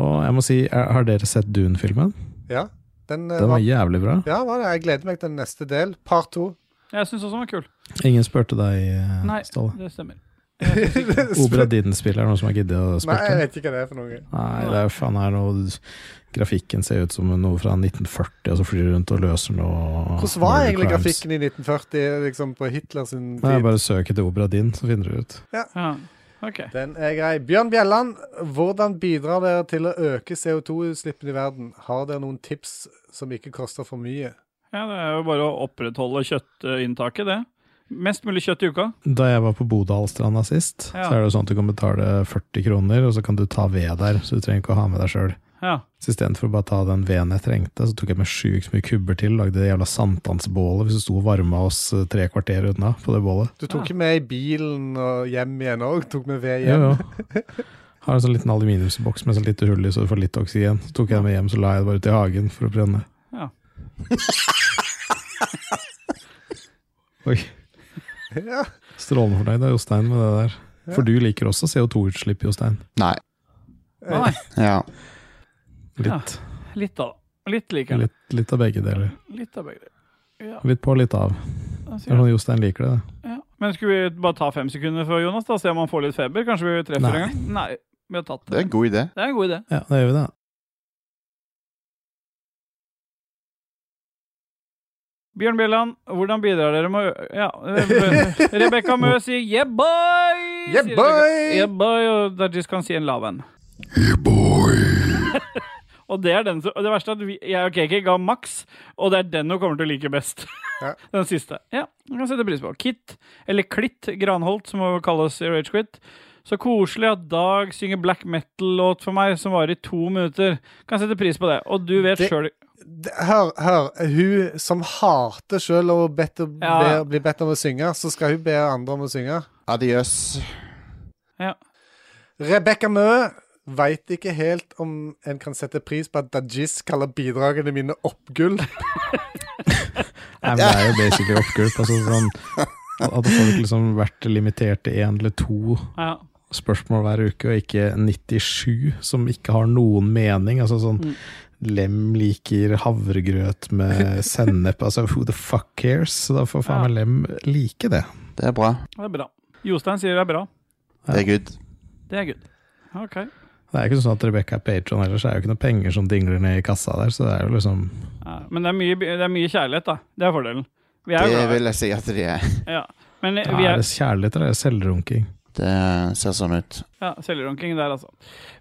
Speaker 5: Og jeg må si, er- har dere sett Dune-filmen?
Speaker 4: Ja. Den, eh,
Speaker 5: Den
Speaker 4: var,
Speaker 5: var jævlig bra.
Speaker 4: ja, var det. Jeg gleder meg til neste del, part to.
Speaker 3: Jeg syns også den var kul.
Speaker 5: Ingen spurte deg, eh,
Speaker 3: Nei,
Speaker 5: Ståle.
Speaker 3: det stemmer.
Speaker 5: Obra Dinn-spillet, er det noen som har giddet å
Speaker 4: Nei, jeg
Speaker 5: spille?
Speaker 4: vet ikke hva det er for noe.
Speaker 5: Nei, det er faen her noe Grafikken ser ut som noe fra 1940, og så flyr du rundt og løser noe
Speaker 4: Hvordan var
Speaker 5: murder
Speaker 4: egentlig
Speaker 5: crimes.
Speaker 4: grafikken i 1940, liksom på Hitlers tid?
Speaker 5: Nei, bare søk etter Obra Dinn, så finner du ut.
Speaker 3: Ja. Ok.
Speaker 4: Den er grei. Bjørn Bjelland, hvordan bidrar dere til å øke CO2-utslippene i verden? Har dere noen tips som ikke koster for mye?
Speaker 3: Ja, det er jo bare å opprettholde kjøttinntaket, det. Mest mulig kjøtt i uka.
Speaker 5: Da jeg var på Bodalstranda sist,
Speaker 3: Ja.
Speaker 5: så er det jo sånn at du kan betale 40 kroner, og så kan du ta ved der, så du trenger ikke å ha med deg sjøl.
Speaker 3: Ja.
Speaker 5: Så istedenfor å bare ta den veden jeg trengte, så tok jeg med sjukt mye kubber til, lagde det jævla sankthansbålet hvis du sto og varma oss eh, tre kvarter unna på det bålet.
Speaker 4: Du tok ikke med i bilen og hjem igjen òg? Tok med ved
Speaker 5: Jo,
Speaker 4: hjem?
Speaker 5: jo. Har en sånn liten aluminiumsboks med sånn lite hull i, så du får litt oksygen. Så tok jeg den med hjem, så la jeg det bare ute i hagen for å brenne.
Speaker 3: Ja.
Speaker 5: Oi.
Speaker 4: Ja.
Speaker 5: Strålende fornøyd av Jostein med det der. For du liker også CO2-utslipp, Jostein.
Speaker 2: Nei.
Speaker 3: Nei,
Speaker 2: Ja.
Speaker 5: Litt,
Speaker 3: litt da. Litt liker jeg.
Speaker 5: litt, litt av begge deler.
Speaker 3: Litt av begge.
Speaker 5: Litt på, litt av.
Speaker 3: Da
Speaker 5: Det er
Speaker 3: sier jeg.
Speaker 5: sånn Jostein liker det. da.
Speaker 3: Ja. Men skulle vi bare ta fem sekunder for Jonas, da, se om han får litt feber? Kanskje vi treffer
Speaker 5: Nei.
Speaker 3: en gang? Nei. Vi har tatt
Speaker 2: Det er
Speaker 3: det.
Speaker 2: en god idé.
Speaker 3: Det er en god idé.
Speaker 5: Ja, da gjør vi det.
Speaker 3: Bjørn Bjelland, hvordan bidrar dere med å ø- Ja, eh, Rebekka Mø sier 'yeah, boy'!
Speaker 4: Yeah,
Speaker 3: sier Rebecca.
Speaker 4: boy!
Speaker 3: Yeah, boy, og Dajis kan si en lav en.
Speaker 4: Eh,
Speaker 3: og det er den som og Det verste er at vi, jeg og KK ga maks, og det er den hun kommer til å like best.
Speaker 4: Ja.
Speaker 3: den siste. Ja, jeg kan sette pris på. Kit, eller Klitt Granholt, som hun kalles i Rage Quit. Så koselig at Dag synger black metal-låt for meg, som varer i to minutter. Kan sette pris på det. Og du vet
Speaker 4: Det-
Speaker 3: sjøl
Speaker 4: D- Hør, hør. Hun som hater sjøl å bedt om-
Speaker 3: Ja.
Speaker 4: be- bli bedt om å synge, så skal hun be andre om å synge.
Speaker 2: Adios.
Speaker 3: ja.
Speaker 4: Rebekka Mø veit ikke helt om en kan sette pris på at Dajis kaller bidragene mine oppgull.
Speaker 5: Nei, men det er jo basically oppgulp. Altså, sånn, hadde folk liksom vært limitert til én eller to
Speaker 3: ja.
Speaker 5: spørsmål hver uke, og ikke 97 som ikke har noen mening. Altså sånn Lem liker havregrøt med sennep. Altså, who the fuck cares? Så da får faen meg Lem like det.
Speaker 2: Det er bra.
Speaker 3: Det er bra. Jostein sier det er bra.
Speaker 2: Det er good.
Speaker 3: Det er good. Ok.
Speaker 5: Det er ikke sånn at Rebekka er patron heller, så det er jo ikke noe penger som dingler ned i kassa der, så det er jo liksom
Speaker 3: Ja, men det er, mye, det er mye kjærlighet, da. Det er fordelen. Vi er
Speaker 2: Det
Speaker 3: glad.
Speaker 2: vil jeg si at de er.
Speaker 3: Ja. Men
Speaker 5: Ja,
Speaker 3: vi
Speaker 5: Er
Speaker 3: er
Speaker 5: det kjærlighet eller er det selvrunking?
Speaker 2: Det ser sånn ut.
Speaker 3: ja, selvranking der, altså.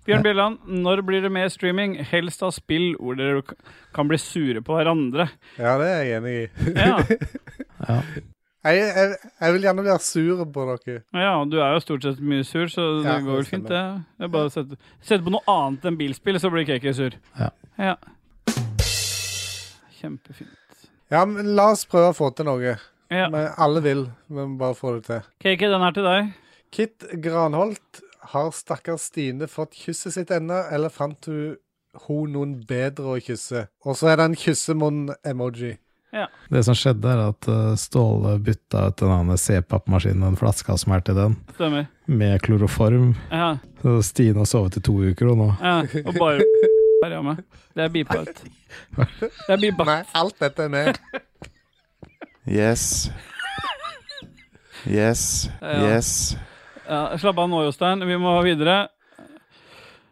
Speaker 3: Bjørn Bjelland, når blir det mer streaming? Helst av spill hvor dere k- kan bli sure på hverandre.
Speaker 4: Ja, det er jeg enig i.
Speaker 3: Ja,
Speaker 5: Ja.
Speaker 4: Jeg, jeg, jeg vil gjerne bli sur på dere.
Speaker 3: ja og du er jo stort sett mye sur, så det
Speaker 4: Ja,
Speaker 3: går vel
Speaker 4: det
Speaker 3: fint, det. det er bare å sette, sette på noe annet enn bilspill, så blir KK sur.
Speaker 5: Ja.
Speaker 3: ja. Kjempefint.
Speaker 4: Ja, men la oss prøve å få til noe.
Speaker 3: Ja.
Speaker 4: Men alle vil, vi må bare få det til.
Speaker 3: KK, den er til deg.
Speaker 4: Kit Granholt, har stakkars Stine fått kysset sitt ennå, eller fant hun hun noen bedre å kysse? Og så er det en kyssemunn-emoji.
Speaker 5: Det som skjedde, er at eh, Ståle bytta ut den andre C-pappmaskinen og den flaska som er til den,
Speaker 3: Stemmer.
Speaker 5: med kloroform.
Speaker 3: Ja,
Speaker 5: Så Stine har sovet i to uker, og nå
Speaker 3: ja. Og bare Der, ja, meg. Det er beepa ut. Det er beepa.
Speaker 4: Nei, alt dette er med.
Speaker 2: Yes. Yes.
Speaker 3: Ja.
Speaker 2: Yes.
Speaker 3: Ja, slapp av nå, Jostein. Vi må videre.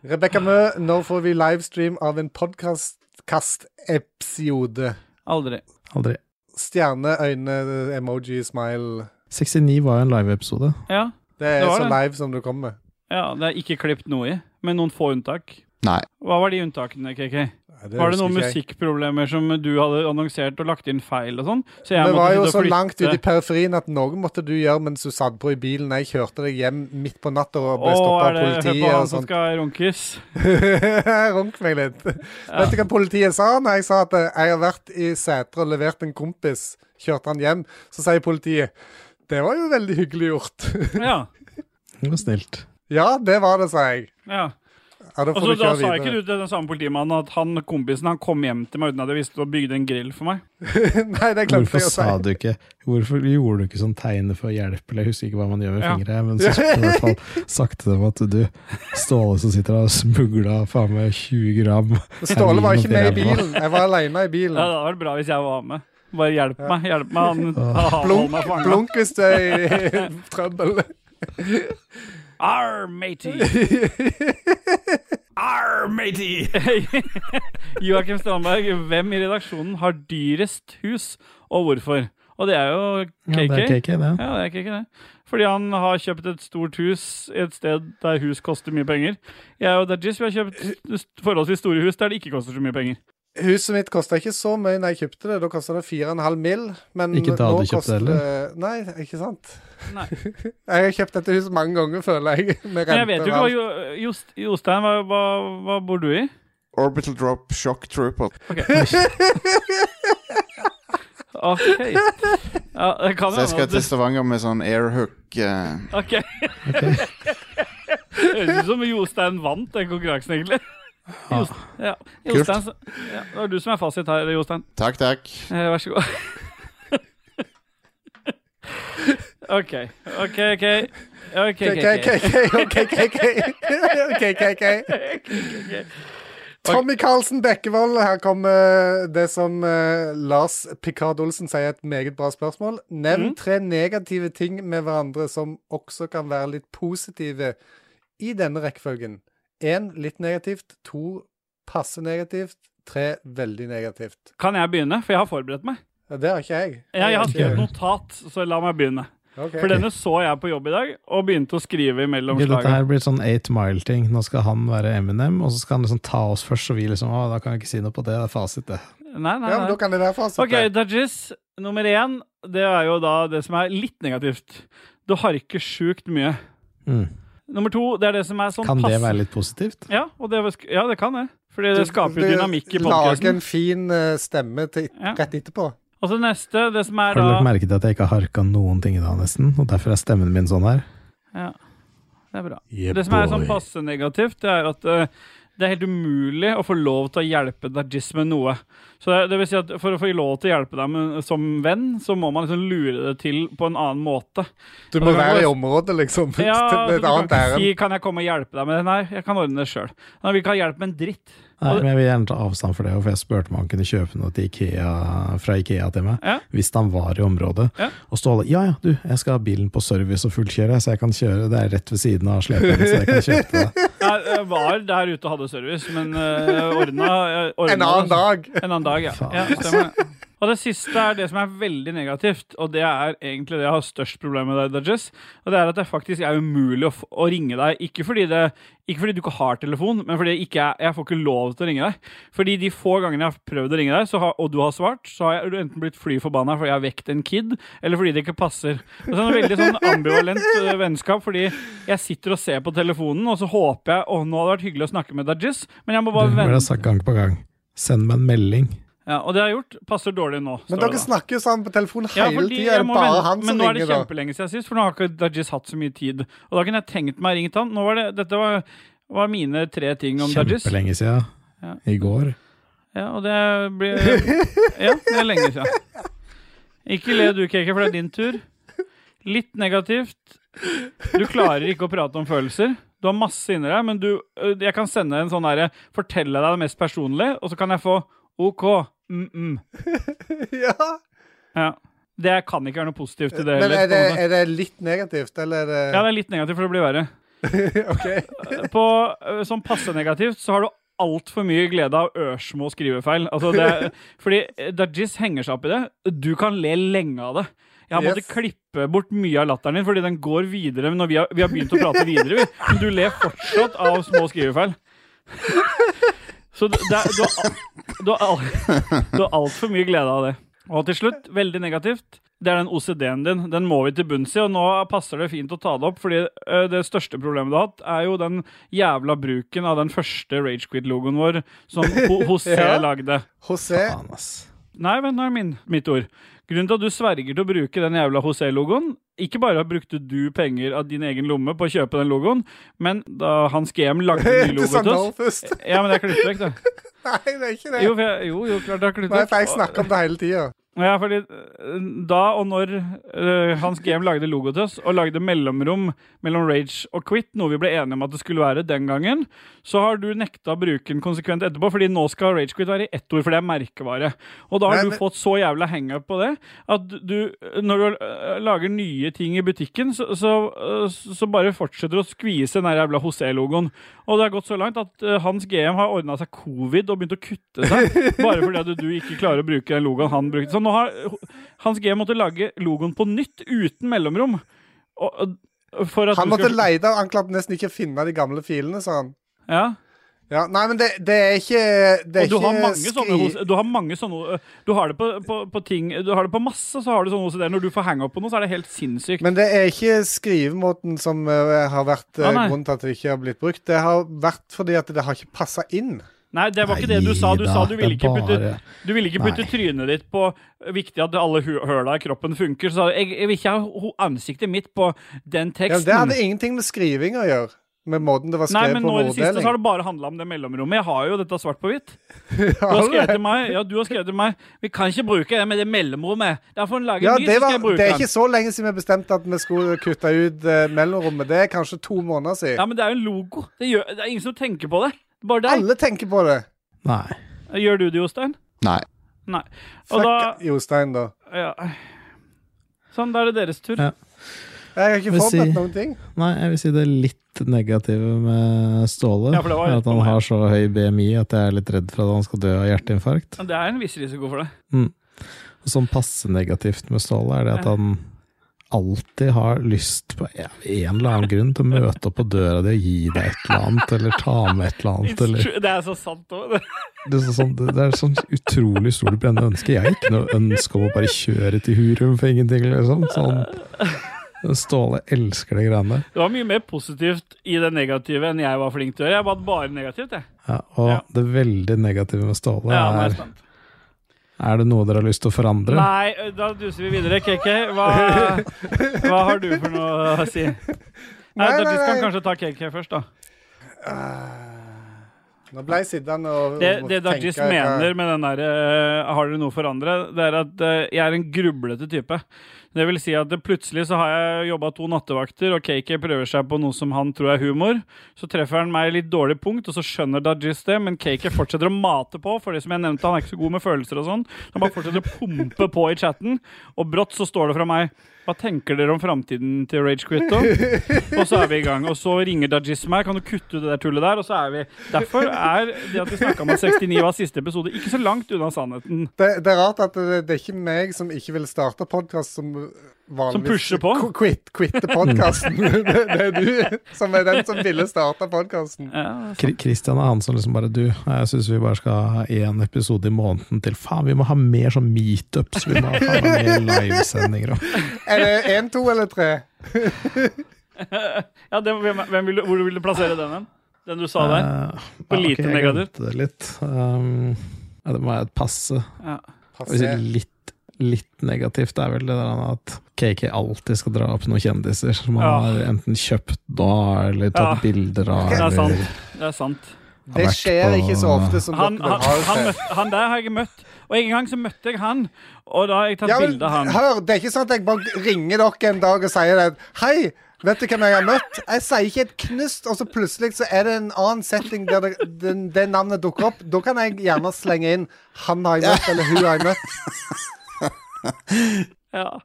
Speaker 4: Rebekka Mø, når får vi livestream av en podkast-episode?
Speaker 3: Aldri.
Speaker 5: aldri.
Speaker 4: Stjerneøyne-emoji-smile.
Speaker 5: 69 var jo en live-episode.
Speaker 3: Ja,
Speaker 4: Det er
Speaker 3: Det var
Speaker 4: så
Speaker 3: det.
Speaker 4: live som det kommer.
Speaker 3: ja det er ikke klippet noe i, med noen få unntak.
Speaker 2: Nei.
Speaker 3: Hva var de unntakene, KK?
Speaker 4: Nei,
Speaker 3: Var det
Speaker 4: husker
Speaker 3: noen
Speaker 4: ikke jeg.
Speaker 3: musikkproblemer som du hadde annonsert og lagt inn feil og sånn? Så
Speaker 4: Vi
Speaker 3: måtte
Speaker 4: var jo
Speaker 3: sitte og
Speaker 4: så
Speaker 3: flytte-
Speaker 4: langt ute i periferien at noe måtte du gjøre mens du satt på i bilen. Jeg kjørte deg hjem midt på natta og ble
Speaker 3: Å,
Speaker 4: stoppa
Speaker 3: er
Speaker 4: av
Speaker 3: det hør på
Speaker 4: politiet og
Speaker 3: han som
Speaker 4: sånt.
Speaker 3: skal runkes?
Speaker 4: Runk meg litt. Vet du hva politiet sa når jeg sa at eh, jeg har vært i Sætre og levert en kompis, kjørte han hjem? Så sier politiet det var jo veldig hyggelig gjort.
Speaker 3: Ja.
Speaker 5: Det var snilt.
Speaker 4: ja, det var det, sa jeg.
Speaker 3: ja.
Speaker 4: Ja, da
Speaker 3: Og
Speaker 4: får
Speaker 3: så Altså,
Speaker 4: du
Speaker 3: da
Speaker 4: kjøre
Speaker 3: sa ikke du
Speaker 4: videre.
Speaker 3: til den samme politimannen at han, kompisen han kom hjem til meg uten at jeg visste og bygde en grill for meg.
Speaker 4: Nei, det glemte
Speaker 5: Hvorfor
Speaker 4: jeg å
Speaker 5: sa
Speaker 4: si.
Speaker 5: du ikke Hvorfor gjorde du ikke sånn tegn for hjelp, eller jeg husker ikke hva man gjør med
Speaker 3: Ja.
Speaker 5: fingre, men så skulle du i hvert fall sagt til dem at du, Ståle som sitter og smugla faen meg 20 gram
Speaker 4: Ståle var ikke med i
Speaker 5: heroin oppi ræva.
Speaker 4: bilen. Jeg var aleine
Speaker 3: Ja,
Speaker 4: i
Speaker 3: det
Speaker 4: bilen.
Speaker 3: hadde vært bra hvis jeg var med. Bare hjelp meg. Hjelp meg, han. han holder
Speaker 4: Blunk,
Speaker 3: meg fanget.
Speaker 4: blunk hvis du er i i trøbbel.
Speaker 3: Arr, matey!
Speaker 1: Arr, matey!
Speaker 3: Joakim Strandberg, hvem i redaksjonen har dyrest hus, og hvorfor? Og det er jo
Speaker 5: Ja, det er
Speaker 3: KK.
Speaker 5: KK, det.
Speaker 3: Ja, det er ikke det. Fordi han har kjøpt et stort hus et sted der hus koster mye penger. Jeg og Dajis vi har kjøpt st- forholdsvis store hus der det ikke koster så mye penger.
Speaker 4: Huset mitt kosta ikke så mye da jeg kjøpte det. Da kosta det 4,5 mill. Men
Speaker 5: Ikke da
Speaker 4: nå
Speaker 5: du kjøpte
Speaker 4: koster
Speaker 5: det,
Speaker 4: Nei, ikke sant.
Speaker 3: Nei.
Speaker 4: Jeg har kjøpt dette huset mange ganger, føler jeg. Med
Speaker 3: Men jeg vet
Speaker 4: renter
Speaker 3: jo
Speaker 4: og
Speaker 3: ikke hva
Speaker 4: alt.
Speaker 3: Jo- Jost- Jostein, hva, hva, hva bor du i?
Speaker 2: Orbital Drop Shock Trooper.
Speaker 3: Ok. Ja, det kan
Speaker 2: Så jeg
Speaker 3: hende
Speaker 2: skal
Speaker 3: at
Speaker 2: til
Speaker 3: du-
Speaker 2: Stavanger med sånn airhook eh,
Speaker 3: Ok. Høres ut som Jostein vant den konkurransen, egentlig. Jost, ja. Jostein, s- ja, det var du som er fasit her, Jostein.
Speaker 2: Takk, takk.
Speaker 3: Eh, vær så god. OK. OK, OK. OK, OK.
Speaker 4: KKK, KKK, KKK. Tommy Carlsen Bekkevold, her kommer det som eh, Lars Picard Olsen sier er et meget bra spørsmål. Nevn
Speaker 3: Mm.
Speaker 4: tre negative ting med hverandre som også kan være litt positive i denne rekkefølgen. Én litt negativt, to passe negativt, tre veldig negativt.
Speaker 3: Kan jeg begynne? For jeg har forberedt meg.
Speaker 4: Ja, Det har ikke jeg.
Speaker 3: Jeg, jeg har skrevet notat, så la meg begynne.
Speaker 4: Ok.
Speaker 3: For denne så jeg på jobb i dag, og begynte å skrive imellom
Speaker 5: Ok, dette
Speaker 3: slagene.
Speaker 5: her blir sånn eight mile-ting. Nå skal han være Eminem, og så skal han liksom ta oss først, og vi liksom Å, da kan jeg ikke si noe på det. Det er fasit, det.
Speaker 3: Nei, nei,
Speaker 4: Ja, men
Speaker 3: nei.
Speaker 4: da kan det være fasit.
Speaker 3: Ok, Dajis, nummer én, det er jo da det som er litt negativt. Du harker sjukt mye.
Speaker 5: Mm.
Speaker 3: Nummer to, det er det som er sånn
Speaker 5: Kan det
Speaker 3: passe-
Speaker 5: være litt positivt?
Speaker 3: Ja, og det, ja, det kan det. Fordi det skaper jo dynamikk i
Speaker 4: Lage en
Speaker 3: podkasten.
Speaker 4: fin eh, stemme til,
Speaker 3: Ja.
Speaker 4: rett etterpå.
Speaker 3: Og så neste, det som er
Speaker 5: Har du
Speaker 3: da
Speaker 5: lagt merke til at jeg ikke har harka noen ting i dag, nesten? Og derfor er stemmen min sånn her?
Speaker 3: Ja, det er bra.
Speaker 6: Yeah,
Speaker 3: Det som er sånn
Speaker 6: boy.
Speaker 3: passe negativt, det er at eh, det er helt umulig å få lov til å hjelpe Dajis med noe. Så det, det vil si at for å få lov til å hjelpe deg med, som venn, så må man liksom lure det til på en annen måte.
Speaker 4: Du må være i området, liksom.
Speaker 3: Ja, altså,
Speaker 4: med et
Speaker 3: du kan
Speaker 4: annet
Speaker 3: ikke
Speaker 4: ærend.
Speaker 3: si 'kan jeg komme og hjelpe deg med det'? Nei, jeg kan ordne det sjøl. Han vil ikke ha hjelp med en dritt.
Speaker 5: Nei, men jeg vil gjerne ta avstand for det, for jeg spurte om han kunne kjøpe noe til Ikea, fra Ikea til meg,
Speaker 3: Ja.
Speaker 5: hvis han var i området.
Speaker 3: Ja.
Speaker 5: Og Ståle ja ja, du, jeg skal ha bilen på service og fullkjøre, så jeg kan kjøre, det er rett ved siden av slepen, så jeg kan kjøpe det.
Speaker 3: Jeg, jeg var der ute og hadde service, men uh, ordna, jeg ordna
Speaker 4: En annen
Speaker 3: det, altså.
Speaker 4: dag.
Speaker 3: En annen dag, ja.
Speaker 5: Faen.
Speaker 3: ja stemmer. det. Og det siste er det som er veldig negativt, og det er egentlig det jeg har størst problem med deg, Dodges. Og det er at det faktisk er umulig å, f å ringe deg. Ikke fordi, det, ikke fordi du ikke har telefon, men fordi jeg, ikke er, jeg får ikke lov til å ringe deg. Fordi de få gangene jeg har prøvd å ringe deg, så har, og du har svart, så har jeg enten blitt fly forbanna fordi jeg har vekt en kid, eller fordi det ikke passer. Det er sånn veldig sånn ambivalent eh, vennskap, fordi jeg sitter og ser på telefonen, og så håper jeg Å, nå hadde det vært hyggelig å snakke med Dodges, men jeg må
Speaker 5: Du
Speaker 3: bare
Speaker 5: burde ha
Speaker 3: vente.
Speaker 5: sagt gang på gang. Send meg en melding.
Speaker 3: Ja, og det jeg har gjort, passer dårlig nå.
Speaker 4: Men
Speaker 3: står det
Speaker 4: dere
Speaker 3: da.
Speaker 4: snakker jo sammen på telefon
Speaker 3: Ja,
Speaker 4: hele
Speaker 3: fordi
Speaker 4: tida. Er
Speaker 3: jeg
Speaker 4: det
Speaker 3: må
Speaker 4: bare
Speaker 3: vente-
Speaker 4: han
Speaker 3: men
Speaker 4: som
Speaker 3: nå er det
Speaker 4: ringer, da?
Speaker 3: kjempelenge siden sist, for nå har ikke Dajis hatt så mye tid. Og da kunne jeg tenkt meg å ringe han. Nå var det, dette var, var mine tre ting om Dajis.
Speaker 5: Kjempelenge siden.
Speaker 3: Ja.
Speaker 5: I går.
Speaker 3: Ja, og det blir Ja, det er lenge siden. Ikke le du, Keke, for det er din tur. Litt negativt. Du klarer ikke å prate om følelser. Du har masse inni deg, men du øh, Jeg kan sende en sånn derre Fortelle deg det mest personlige, og så kan jeg få OK. mm, Mm-mm.
Speaker 4: Ja.
Speaker 3: Ja. Det kan ikke være noe positivt i det
Speaker 4: Men
Speaker 3: heller.
Speaker 4: er
Speaker 3: på
Speaker 4: det,
Speaker 3: en måte.
Speaker 4: er det litt negativt, eller
Speaker 3: Ja,
Speaker 4: er
Speaker 3: det er litt negativt, for det blir verre.
Speaker 4: det OK.
Speaker 3: På, ø, som passe negativt så har du altfor mye glede av ørsmå skrivefeil. Altså det, fordi ø, Dajis henger seg opp i det. Du kan le lenge av det. Jeg har måttet
Speaker 4: Yes.
Speaker 3: klippe bort mye av latteren din, fordi den går videre når vi har, vi har begynt å prate videre. Vi. Men du ler fortsatt av små skrivefeil. Så det, det, er- du har, al- du har, al- du har altfor mye glede av det. Og til slutt, veldig negativt, det er den OCD-en din. Den må vi til bunns i, og nå passer det fint å ta det opp, fordi ø, det største problemet du har hatt, er jo den jævla bruken av den første Ragequit-logoen vår som Ho- José
Speaker 4: Ja.
Speaker 3: lagde.
Speaker 4: José
Speaker 5: Faen, ass.
Speaker 3: Nei, vent, nå er det min, mitt ord. Grunnen til at du sverger til å bruke den jævla José-logoen Ikke bare brukte du penger av din egen lomme på å kjøpe den logoen, men da Hans GM lagde en ny
Speaker 4: Til
Speaker 3: logo til
Speaker 4: Sandal
Speaker 3: oss
Speaker 4: først.
Speaker 3: Ja, men jeg klippet vekk, det.
Speaker 4: Nei, det er ikke det.
Speaker 3: Jo, for jeg, jo, jo, klart jeg har klippet
Speaker 4: Nei, for jeg
Speaker 3: vekk.
Speaker 4: snakker om det hele tida.
Speaker 3: Ja, fordi eh, da og når eh, Hans GM lagde logo til oss, og lagde mellomrom mellom Rage og Quit, noe vi ble enige om at det skulle være den gangen, så har du nekta å bruke den konsekvent etterpå, fordi nå skal Rage Quit være i ett ord, for det er merkevare. Og da har
Speaker 4: Nei,
Speaker 3: du
Speaker 4: men-
Speaker 3: fått så jævla hangup på det at du, når du eh, lager nye ting i butikken, så, så, eh, så bare fortsetter du å skvise den der jævla José-logoen. Og det har gått så langt at eh, Hans GM har ordna seg covid og begynt å kutte seg. Bare fordi at du ikke klarer å bruke den logoen han brukte. Så nå har øh, Hans G måtte lage logoen på nytt uten mellomrom. Og, og- for at
Speaker 4: Han
Speaker 3: du
Speaker 4: måtte
Speaker 3: skal-
Speaker 4: leide, og han klarte nesten ikke å finne de gamle filene, sa han.
Speaker 3: Ja.
Speaker 4: Ja, nei, men det, det er ikke det er
Speaker 3: Og du har
Speaker 4: ikke
Speaker 3: mange
Speaker 4: skri-
Speaker 3: sånne hos- Du har mange sånne Du har det på, på, på ting Du har det på masse, så har du sånne OCD-er. Når du får hang-up på noe, så er det helt sinnssykt.
Speaker 4: Men det er ikke skrivemåten som eh, har vært eh,
Speaker 3: Ah, nei.
Speaker 4: grunnen til at det ikke har blitt brukt. Det har vært fordi at det har ikke passa inn.
Speaker 3: Nei, det var ikke det du sa. Du
Speaker 5: Nei
Speaker 3: sa
Speaker 5: da,
Speaker 3: du ville
Speaker 5: det
Speaker 3: ikke
Speaker 5: er
Speaker 3: putte,
Speaker 5: bare-
Speaker 3: du ville ikke putte
Speaker 5: Nei.
Speaker 3: trynet ditt på viktig at alle hu- høla i kroppen funker. Så sa du, jeg, jeg vil ikke ha ho- ansiktet mitt på den
Speaker 4: Ja,
Speaker 3: teksten.
Speaker 4: det hadde ingenting med skriving å gjøre. Med måten det var
Speaker 3: Nei,
Speaker 4: skrevet
Speaker 3: men
Speaker 4: på
Speaker 3: nå i det siste så har
Speaker 4: måldeling.
Speaker 3: det bare handla om det mellomrommet. Jeg har jo dette svart på hvitt. Du har
Speaker 4: Ja,
Speaker 3: skrevet til meg, ja, du har skrevet til meg Vi kan ikke bruke det med det mellomrommet. Derfor lager
Speaker 4: ja,
Speaker 3: jeg en ny,
Speaker 4: det,
Speaker 3: så skal
Speaker 4: var,
Speaker 3: jeg bruke
Speaker 4: det er
Speaker 3: den.
Speaker 4: ikke så lenge siden vi bestemte at vi skulle kutte ut eh, mellomrommet. Det er kanskje to måneder siden.
Speaker 3: Ja, men det er jo en logo. Det, gjør, det er ingen som tenker på det. Bare deg.
Speaker 4: Alle tenker på det.
Speaker 5: Nei.
Speaker 3: Gjør du det, Jostein?
Speaker 2: Nei.
Speaker 3: Nei. Og
Speaker 4: Fuck
Speaker 3: da
Speaker 4: Jostein, da.
Speaker 3: ja. Sånn, da er det deres tur.
Speaker 5: Ja.
Speaker 4: Jeg har ikke
Speaker 5: Hvis
Speaker 4: forberedt
Speaker 5: jeg-
Speaker 4: noen ting.
Speaker 5: Nei, jeg vil si det litt negative med Ståle.
Speaker 3: Ja, for det var
Speaker 5: er
Speaker 3: rett
Speaker 5: at
Speaker 3: på
Speaker 5: han
Speaker 3: meg.
Speaker 5: har så høy BMI at jeg er litt redd for at han skal dø av hjerteinfarkt.
Speaker 3: Men Det er en viss risiko for det.
Speaker 5: Og sånn passe negativt med Ståle er det at han alltid har lyst på en eller annen grunn til å møte opp på døra di og gi deg et eller annet, eller ta med et eller annet, eller
Speaker 3: Det er så sant òg.
Speaker 5: det er, så- sånn, det er sånn utrolig stort brennende ønske. Jeg har ikke noe ønske om å bare kjøre til Hurum for ingenting, liksom. Sånn. Ståle elsker de greiene der.
Speaker 3: Det var mye mer positivt i det negative enn jeg var flink til å gjøre. Jeg var bare negativt, jeg.
Speaker 5: Ja, og
Speaker 3: Ja.
Speaker 5: det veldig negative med Ståle
Speaker 3: Ja, nå er jeg
Speaker 5: er
Speaker 3: spent.
Speaker 5: Er det noe dere har lyst til å forandre?
Speaker 3: Nei, da duser vi videre. KK, hva, hva har du for noe å si? Nei,
Speaker 4: Nei, nei,
Speaker 3: Dødtis kan
Speaker 4: nei.
Speaker 3: kanskje ta KK først, da.
Speaker 4: Ah, Nå ble jeg sittende og
Speaker 3: Det,
Speaker 4: og
Speaker 3: det
Speaker 4: tenke
Speaker 3: Dodges
Speaker 4: hva-
Speaker 3: mener med den der eh, 'har dere noe for andre', det er at eh, jeg er en grublete type. Det vil si at det plutselig så har jeg jobba to nattevakter, og KK prøver seg på noe som han tror er humor. Så treffer han meg i litt dårlig punkt, og så skjønner Dodges det, men KK fortsetter å mate på, for det som jeg nevnte, han er ikke så god med følelser og sånn. Så han bare fortsetter å pumpe på i chatten, og brått så står det fra meg hva tenker dere om framtiden til Rage Quit? da?» Og så er vi i gang. Og så ringer Dajis meg. Kan du kutte ut det der tullet der? Og så er vi Derfor er det at vi snakka om at 69 var siste episode, ikke så langt unna sannheten.
Speaker 4: Det, det er rart at det, det er ikke meg som ikke vil starte podkast, som vanligvis
Speaker 3: Som pusher på.
Speaker 4: qu- Quit, quitter podkasten. det, det er du som er den som ville starte podkasten.
Speaker 3: Ja,
Speaker 5: Kri- Christian er han som liksom bare Du, jeg syns vi bare skal ha én episode i måneden til. Faen, vi må ha mer sånn meetups! Vi må ha faen meg mer livesendinger og
Speaker 4: Er det én, to eller tre?
Speaker 3: ja det, hvem, hvem vil, du- Hvor vil du plassere den hen? Den du sa der?
Speaker 5: Eh,
Speaker 3: På
Speaker 5: ja, ok,
Speaker 3: lite
Speaker 5: jeg
Speaker 3: negativt.
Speaker 5: glemte Det litt. Um, ja, det må jeg passe.
Speaker 3: Ja.
Speaker 5: Hvis
Speaker 4: Passé.
Speaker 5: litt, litt negativt er vel det der at KK alltid skal dra opp noen kjendiser som han
Speaker 3: Ja.
Speaker 5: har enten kjøpt da, eller tatt
Speaker 3: Ja.
Speaker 5: bilder av.
Speaker 3: Det er
Speaker 5: eller-
Speaker 3: sant. Det er sant.
Speaker 5: har
Speaker 4: Det
Speaker 5: vært
Speaker 4: skjer
Speaker 5: på-
Speaker 4: ikke så ofte som
Speaker 3: Han,
Speaker 4: dere
Speaker 3: han,
Speaker 4: vil ha det
Speaker 3: han,
Speaker 4: til.
Speaker 3: møtte, han der har jeg møtt. Og en gang så møtte jeg han, og da har jeg tatt
Speaker 4: Ja, men,
Speaker 3: bilde av han.
Speaker 4: hør, det er ikke sånn at jeg bare ringer dere en dag og sier det. Hei, vet du hvem jeg har møtt? Jeg sier ikke et knust, og så plutselig så er det en annen setting der det, det, det navnet dukker opp. Da kan jeg gjerne slenge inn 'han har jeg møtt', eller 'hun har jeg møtt'.
Speaker 3: Ja.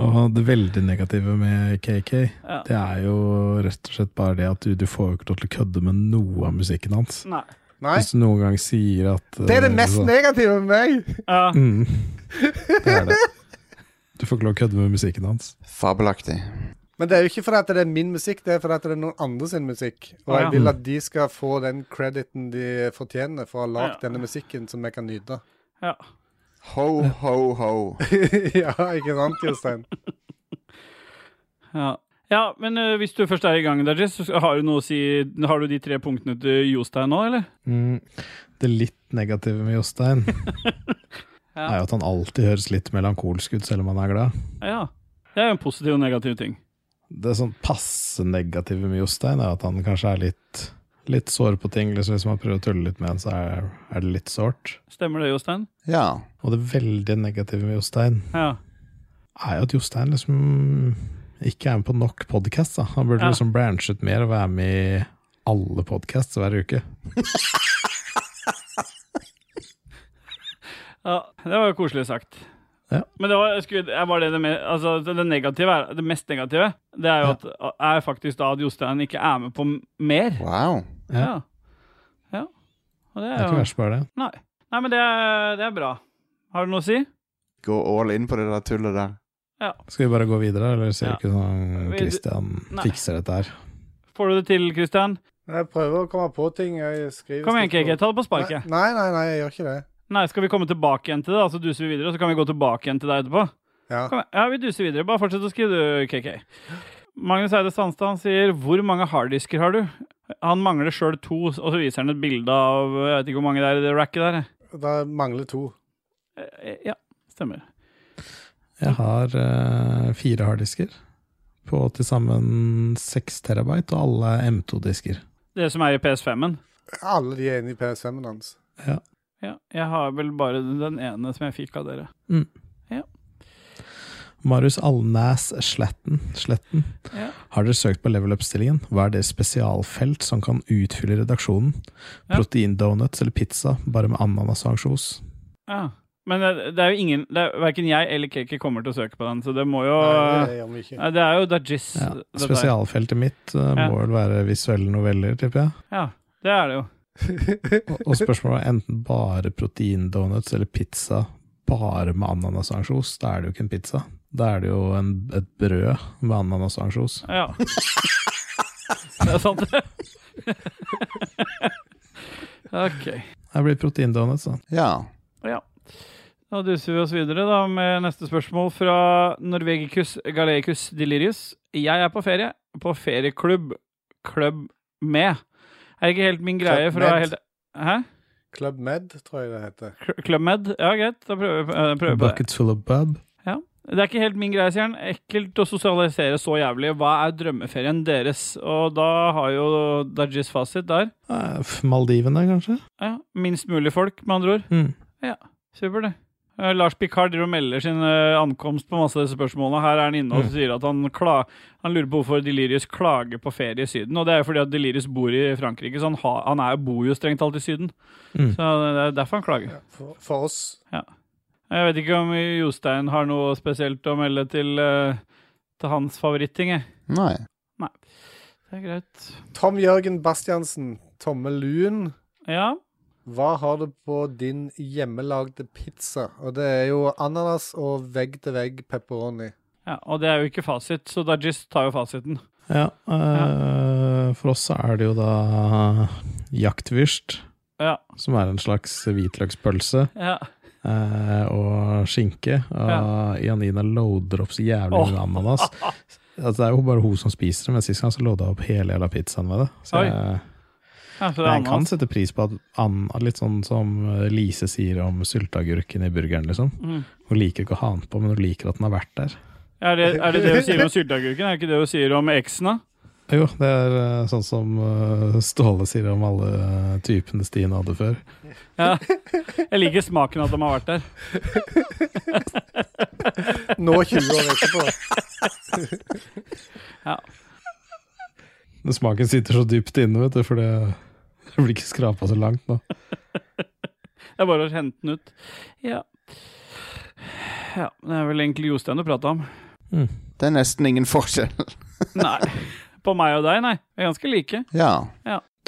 Speaker 5: Og det veldig negative med KK,
Speaker 3: Ja.
Speaker 5: det er jo rett og slett bare det at du, du får jo ikke lov til å kødde med noe av musikken hans.
Speaker 3: Nei.
Speaker 4: Nei.
Speaker 5: Hvis du noen gang sier at
Speaker 4: Det er det
Speaker 5: eh,
Speaker 4: mest
Speaker 5: så-
Speaker 4: negative med meg.
Speaker 3: Ja.
Speaker 5: Mm. Det er det. Du får ikke lov til å kødde med musikken hans.
Speaker 2: Fabelaktig.
Speaker 4: Men det er jo ikke fordi at det er min musikk, det er fordi at det er noen andre sin musikk. Og
Speaker 3: Ja.
Speaker 4: jeg vil at de skal få den crediten de fortjener for å ha lagd
Speaker 3: Ja.
Speaker 4: denne musikken som vi kan nyte.
Speaker 3: ja.
Speaker 2: Ho, ho, ho.
Speaker 4: ja, ikke sant, Jostein?
Speaker 3: Ja. ja, men eh, hvis du først er i gang, Dajis, så har du noe å si Har du de tre punktene til Jostein nå, eller?
Speaker 5: Mm. Det litt negative med Jostein
Speaker 3: Ja.
Speaker 5: er jo at han alltid høres litt melankolsk ut selv om han er glad.
Speaker 3: Ja. Det er jo en positiv og negativ ting.
Speaker 5: Det sånn passe negative med Jostein er at han kanskje er litt, litt sår på ting. Liksom, hvis man prøver å tulle litt med han, så er, er det litt sårt.
Speaker 3: Stemmer det, Jostein?
Speaker 2: Ja.
Speaker 5: Og det veldig negative med Jostein
Speaker 3: Ja.
Speaker 5: er jo at Jostein liksom ikke er med på nok podkast. Han burde
Speaker 3: Ja.
Speaker 5: liksom branche ut mer og være med i alle podkast hver uke.
Speaker 3: ja. Det var jo koselig sagt.
Speaker 5: Ja.
Speaker 3: Men det var, jeg skulle, jeg var det, det, me- altså, det, det, negative er, det mest negative Det er jo at, er faktisk da at Jostein ikke er med på m- mer.
Speaker 2: Wow.
Speaker 5: Ja.
Speaker 3: Ja. ja. Og det
Speaker 5: Det
Speaker 3: er
Speaker 5: er ikke
Speaker 3: jo
Speaker 5: verst, bare det.
Speaker 3: Nei. Nei, men det er, det er bra. Har du noe å si?
Speaker 2: Gå all in på det der tullet der.
Speaker 5: Skal vi bare gå videre, eller ser
Speaker 3: Ja.
Speaker 5: du ikke sånn
Speaker 3: Vi-
Speaker 5: Christian
Speaker 3: Nei.
Speaker 5: fikser dette her?
Speaker 3: Får du det til, Christian?
Speaker 4: Jeg prøver å komme på ting. Jeg skriver
Speaker 3: Kom igjen,
Speaker 4: stikkord.
Speaker 3: KK. Ta det på sparket. Nei.
Speaker 4: Nei, nei, nei, jeg gjør ikke det.
Speaker 3: skal vi komme tilbake igjen til det? da? Så duser vi videre, og så kan vi gå tilbake igjen til deg etterpå.
Speaker 4: Ja.
Speaker 3: Kom igjen. Ja, vi duser videre. Bare fortsett å skrive, du, KK. Magnus Eide Sandstad han sier 'Hvor mange harddisker har du?' Han mangler sjøl to, og så viser han et bilde av Jeg vet ikke hvor mange det er i det racket der.
Speaker 4: Det mangler to.
Speaker 3: Eh, Ja, stemmer.
Speaker 5: Jeg har eh, fire harddisker på til sammen seks terabyte, og alle er M2-disker.
Speaker 3: Det som er i PS5-en.
Speaker 4: Alle de er inne i PS5-en hans.
Speaker 3: Ja, jeg har vel bare den ene som jeg fikk av dere.
Speaker 5: Marius Alnæs Sletten, Sletten.
Speaker 3: Ja.
Speaker 5: Har dere søkt på level up-stillingen? Hva er det spesialfelt som kan utfylle redaksjonen?
Speaker 3: Ja.
Speaker 5: Proteindonuts eller pizza, bare med ananas og ansjos?
Speaker 3: Ja. Men det, det er jo ingen det er, Verken jeg eller KK kommer til å søke på den, så det må jo
Speaker 4: Nei, det gjør vi ikke.
Speaker 3: Nei, det er jo Dajis.
Speaker 5: Ja.
Speaker 3: dette her.
Speaker 5: Spesialfeltet mitt eh,
Speaker 3: Ja.
Speaker 5: må vel være visuelle noveller, tipper jeg.
Speaker 3: Ja, det er det jo.
Speaker 5: Og- Og spørsmålet er enten bare proteindonuts eller pizza bare med ananas og ansjos. Da er det jo ikke en pizza. Da er det jo en, et brød med ananas og ansjos.
Speaker 3: Ja. Det er sant, det. OK.
Speaker 5: Det blir proteindonuts, da.
Speaker 2: Ja.
Speaker 3: Ja. Da duser vi oss videre da med neste spørsmål fra Norvegicus Galecus Delirius. Jeg er på ferie. På ferieklubb. Klubb med. Er ikke helt min greie, for å være
Speaker 4: Med.
Speaker 3: helt Hæ?
Speaker 4: Club Med, tror jeg det heter.
Speaker 3: Kl- Club Med? Ja, greit. Da prøver vi eh, prøver vi på det.
Speaker 5: Buckets full of bub.
Speaker 3: Det er ikke helt min greie, sier han. Ekkelt å sosialisere så jævlig. Hva er drømmeferien deres? Og da har jo Dajis fasit der.
Speaker 5: Eh, f- Maldivene, kanskje?
Speaker 3: Ja, minst mulig folk, med andre ord.
Speaker 5: Mm.
Speaker 3: Supert, det. Eh, Lars Picard driver og melder sin eh, ankomst på masse av disse spørsmålene. Her er han inne og sier at han, kla han lurer på hvorfor Delirius klager på ferie i Syden. Og det er jo fordi at Delirius bor i Frankrike, så han, ha han er, bor jo strengt talt i Syden.
Speaker 5: Mm.
Speaker 3: Så det er derfor han klager.
Speaker 4: Ja, for, for oss.
Speaker 3: Jeg vet ikke om Jostein har noe spesielt å melde til, eh, til hans favoritting, jeg.
Speaker 2: Nei.
Speaker 3: Det er greit.
Speaker 4: Tom Jørgen Bastiansen, Tomme Luen.
Speaker 3: Ja.
Speaker 4: Hva har du på din hjemmelagde pizza? Og det er jo ananas og vegg-til-vegg pepperoni.
Speaker 3: Ja, og det er jo ikke fasit, så Dajis tar jo fasiten.
Speaker 5: Ja, eh, for oss så er det jo da jaktvyrst,
Speaker 3: Ja.
Speaker 5: som er en slags hvitløkspølse,
Speaker 3: ja.
Speaker 5: eh, og skinke.
Speaker 3: Ja.
Speaker 5: Og Janina loader opp så jævlig med ananas. Altså, det er jo bare hun som spiser det, men sist gang så lodda jeg opp hele jævla pizzaen med det. Så
Speaker 3: Oi.
Speaker 5: jeg,
Speaker 3: ja så det er
Speaker 5: jeg kan
Speaker 3: ananas.
Speaker 5: sette pris på at an, litt sånn som eh, Lise sier om sylteagurken i burgeren, liksom.
Speaker 3: Mm.
Speaker 5: Hun liker ikke å ha den på, men hun liker at den har vært der.
Speaker 3: Er, det, er det det du sier om sylteagurken? Er det ikke det du sier om eksene?
Speaker 5: Jo, det er eh, sånn som eh, Ståle sier om alle eh, typene Stine hadde før.
Speaker 3: Ja. Jeg liker smaken at de har vært der.
Speaker 4: Nå 20 år etterpå.
Speaker 5: Men smaken sitter så dypt inne, vet du, for det, det blir ikke skrapa så langt nå.
Speaker 3: Det er bare å hente den ut. Ja. ja. Det er vel egentlig Jostein du prata om.
Speaker 2: Det er nesten ingen forskjell.
Speaker 3: Nei. På meg og deg, nei. Vi er ganske like.
Speaker 2: Ja.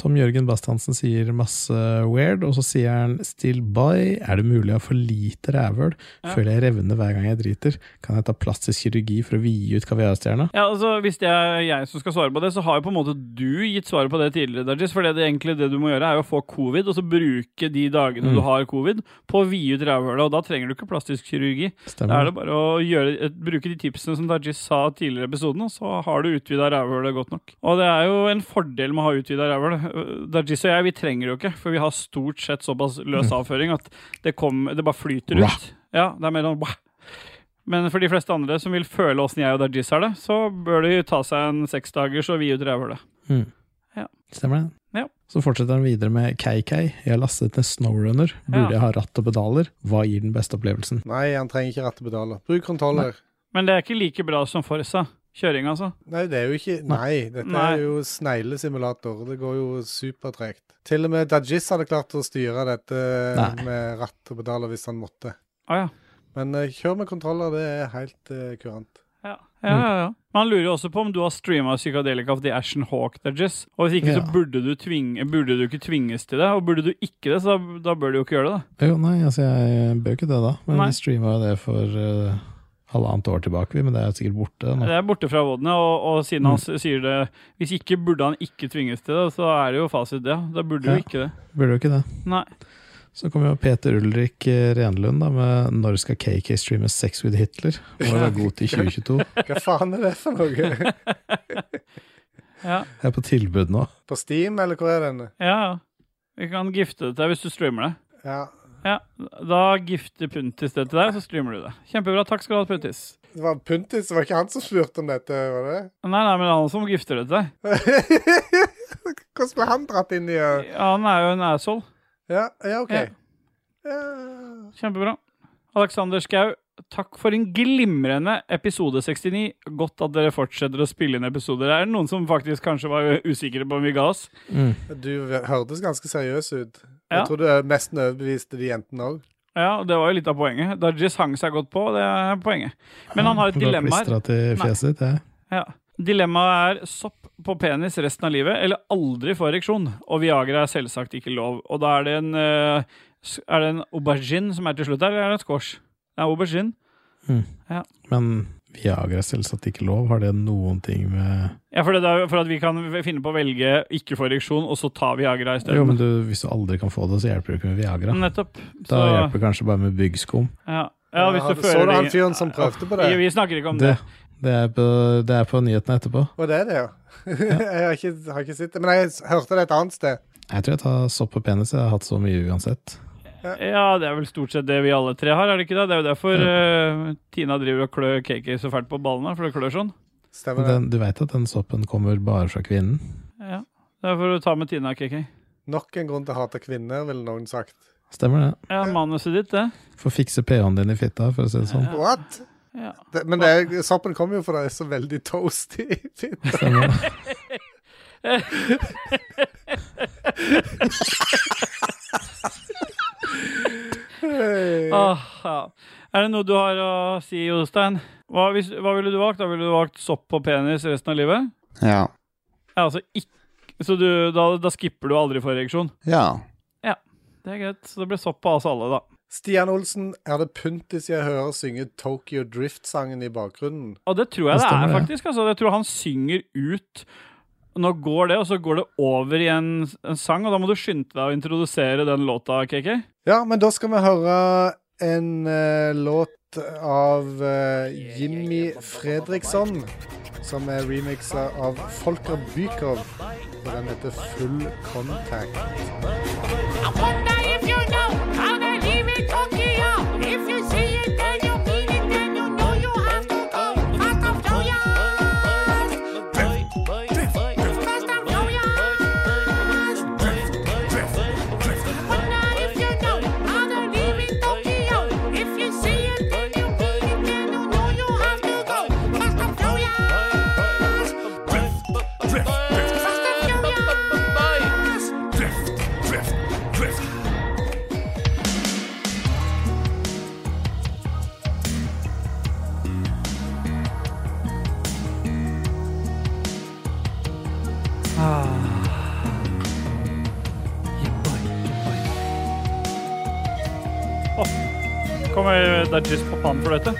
Speaker 5: Tom Jørgen Bastiansen sier masse weird, og så sier han still by. Er det mulig å ha for lite rævhøl?
Speaker 3: Ja.
Speaker 5: Føler jeg revner hver gang jeg driter. Kan jeg ta plastisk kirurgi for å vide ut kaviarstjerna?
Speaker 3: Ja, altså, Hvis det er jeg som skal svare på det, så har jo på en måte du gitt svaret på det tidligere. Dajis, for det, det, egentlig, det du må gjøre, er jo å få covid, og så bruke de dagene
Speaker 5: Mm.
Speaker 3: du har covid, på å vide ut rævhølet. Og da trenger du ikke plastisk kirurgi. Da er
Speaker 5: Stemmer.
Speaker 3: det bare å gjøre, eh, bruke de tipsene som Dajis sa tidligere i episoden, og så har du utvida rævhølet godt nok. Og det er jo en fordel med å ha utvida rævhøl. Eh, Dajis og jeg, vi trenger det jo ikke, for vi har stort sett såpass løs avføring at det, kom, det bare flyter ut. Ja, det er mer sånn wah. Men for de fleste andre som vil føle åssen jeg og Dajis har det, så bør de ta seg en seksdagers og vide ut rævhølet.
Speaker 5: Stemmer det?
Speaker 3: Ja.
Speaker 5: Så fortsetter han videre med KK. Jeg har lastet ned Snowrunner. Burde
Speaker 3: Ja.
Speaker 5: jeg ha ratt og pedaler? Hva gir den beste opplevelsen?
Speaker 4: Nei, han trenger ikke rattepedaler. Bruk kontroller.
Speaker 3: Men det er ikke like bra som Forsa. Kjøring, altså.
Speaker 4: Nei, det er jo ikke Nei, dette
Speaker 3: Nei.
Speaker 4: er jo sneglesimulator. Det går jo supertregt. Til og med Dajis hadde klart å styre dette
Speaker 5: Nei.
Speaker 4: med ratt og pedaler hvis han måtte.
Speaker 3: Å ja.
Speaker 4: Men eh, kjør med kontroller, det er helt eh, kurant.
Speaker 3: Ja. Ja,
Speaker 5: Mm.
Speaker 3: ja, ja. Men han lurer jo også på om du har streama Psychadelic of the Ashen Hawk, Dajis. Og hvis ikke,
Speaker 5: Ja.
Speaker 3: så burde du, tvinge, burde du ikke tvinges til det. Og burde du ikke det, så da, da bør du jo ikke gjøre det. da.
Speaker 5: Jo, nei, altså jeg bør jo ikke det, da. Men
Speaker 3: Nei.
Speaker 5: vi streama jo det for eh, halvannet år tilbake, vi, men det er sikkert borte nå.
Speaker 3: Det er borte fra vodene, og, og siden
Speaker 5: Mm.
Speaker 3: han s- sier det Hvis ikke burde han ikke tvinges til det, så er det jo fasit, det. Da burde du
Speaker 5: Ja.
Speaker 3: jo ikke det.
Speaker 5: Burde jo ikke det.
Speaker 3: Nei.
Speaker 5: Så kom jo Peter Ulrik eh, Renlund da med 'Når skal KK streame Sex with Hitler?' Må være god til 2022.
Speaker 4: Hva faen er det for noe?
Speaker 3: Ja,
Speaker 5: Jeg er på tilbud nå.
Speaker 4: På Steam, eller hvor er den?
Speaker 3: ja. ja. Vi kan gifte det til deg hvis du streamer det.
Speaker 4: Ja.
Speaker 3: Ja, Da gifter Puntis det til deg, så streamer du det. Kjempebra. Takk skal du ha, Puntis.
Speaker 4: Det var Puntis, det var ikke han som spurte om dette, var det?
Speaker 3: Nei, nei, men han som gifter det til deg.
Speaker 4: Hvordan ble han dratt inn i uh,
Speaker 3: Ja, han er jo en asshole.
Speaker 4: Ja, ja OK.
Speaker 3: Ja.
Speaker 4: Ja.
Speaker 3: Kjempebra. Alexander Skau, takk for en glimrende episode 69. Godt at dere fortsetter å spille inn episoder. Det er noen som faktisk kanskje var usikre på om vi ga oss.
Speaker 4: Du hørtes ganske seriøs ut.
Speaker 3: Ja.
Speaker 4: Jeg tror du mest overbeviste de jentene òg.
Speaker 3: Ja, og det var jo litt av poenget. Dajis hang seg godt på, det er poenget. Men han har et dilemma her.
Speaker 5: Klistra til
Speaker 3: Nei.
Speaker 5: fjeset ditt, jeg.
Speaker 3: Ja. Dilemmaet er sopp på penis resten av livet, eller aldri få ereksjon. Og Viagra er selvsagt ikke lov. Og da er det en, eh, s- er det en aubergine som er til slutt her, eller er det en squash? Det er aubergine.
Speaker 5: Men Viagra er selvsagt ikke lov. Har det noen ting med
Speaker 3: Ja, for, det er, jo for at vi kan finne på å velge ikke få ereksjon, og så ta Viagra
Speaker 5: Jo, men
Speaker 3: isteden.
Speaker 5: du, hvis du aldri kan få det, så hjelper det jo ikke med Viagra.
Speaker 3: Nettopp.
Speaker 5: Da
Speaker 3: Mm, Så,
Speaker 5: hjelper det kanskje bare med byggskum.
Speaker 3: ja. ja, hvis du
Speaker 4: så du
Speaker 3: føler
Speaker 4: han fyren som prøvde på det?
Speaker 3: Vi vi snakker ikke om
Speaker 5: Det,
Speaker 3: det.
Speaker 5: det, er på, det er på nyhetene etterpå.
Speaker 4: Og det er det, ja. jeg har ikke, har ikke sett det. Men jeg s- hørte det et annet sted.
Speaker 5: Jeg tror jeg tar sopp på penis. Jeg har hatt så mye uansett.
Speaker 3: Ja, det er vel stort sett det vi alle tre har, er det ikke det? Det er jo derfor eh, Tina driver og klør KK så fælt på ballene, for det klør sånn.
Speaker 5: Men
Speaker 4: Stemmer det?
Speaker 5: den, du veit at den soppen kommer bare fra kvinnen?
Speaker 3: Ja. Det er for å ta med Tina, KK.
Speaker 4: Nok en grunn til å hate kvinner, ville noen sagt.
Speaker 5: Stemmer det.
Speaker 3: Ja, manuset ditt, det.
Speaker 5: Får fikse pH-en din i fitta, for å si det sånn.
Speaker 4: What?
Speaker 3: Ja.
Speaker 4: Det, men det, er- soppen kommer jo fra det er så veldig toasty.
Speaker 5: Stemmer det.
Speaker 3: Åh, Ah, ja. Er det noe du har å si, Jostein? Hva, hvis, hva ville du valgt? Da ville du valgt sopp på penis resten av livet?
Speaker 2: Ja.
Speaker 3: Ja, altså ikke Så du, da, da skipper du aldri for ereksjon?
Speaker 2: ja.
Speaker 3: Det er greit. Så det ble sopp på oss alle, da.
Speaker 4: Stian Olsen, er det puntis jeg hører synge Tokyo Drift-sangen i bakgrunnen?
Speaker 3: Og det tror jeg
Speaker 5: Det
Speaker 3: det,
Speaker 5: stemmer,
Speaker 3: er,
Speaker 5: det.
Speaker 3: faktisk. Altså, jeg tror han synger ut Nå går det, og så går det over i en, en sang, og da må du skynde deg å introdusere den låta, KK.
Speaker 4: Ja, men da skal vi høre en eh, låt av eh, Jimmy Fredriksson, som er remixa av Folker Bykov. Og den heter Full Contact.
Speaker 10: I wonder if you know how to live in Tokyo. If you see it, then you mean it, then you know you have to go. Fast and furious. Fast and furious. I wonder if you know how to live in Tokyo. If you see it, then you mean it, then you know you have to go. Fast and furious. Fast and furious.
Speaker 3: Kommer Dajis på pann for dette?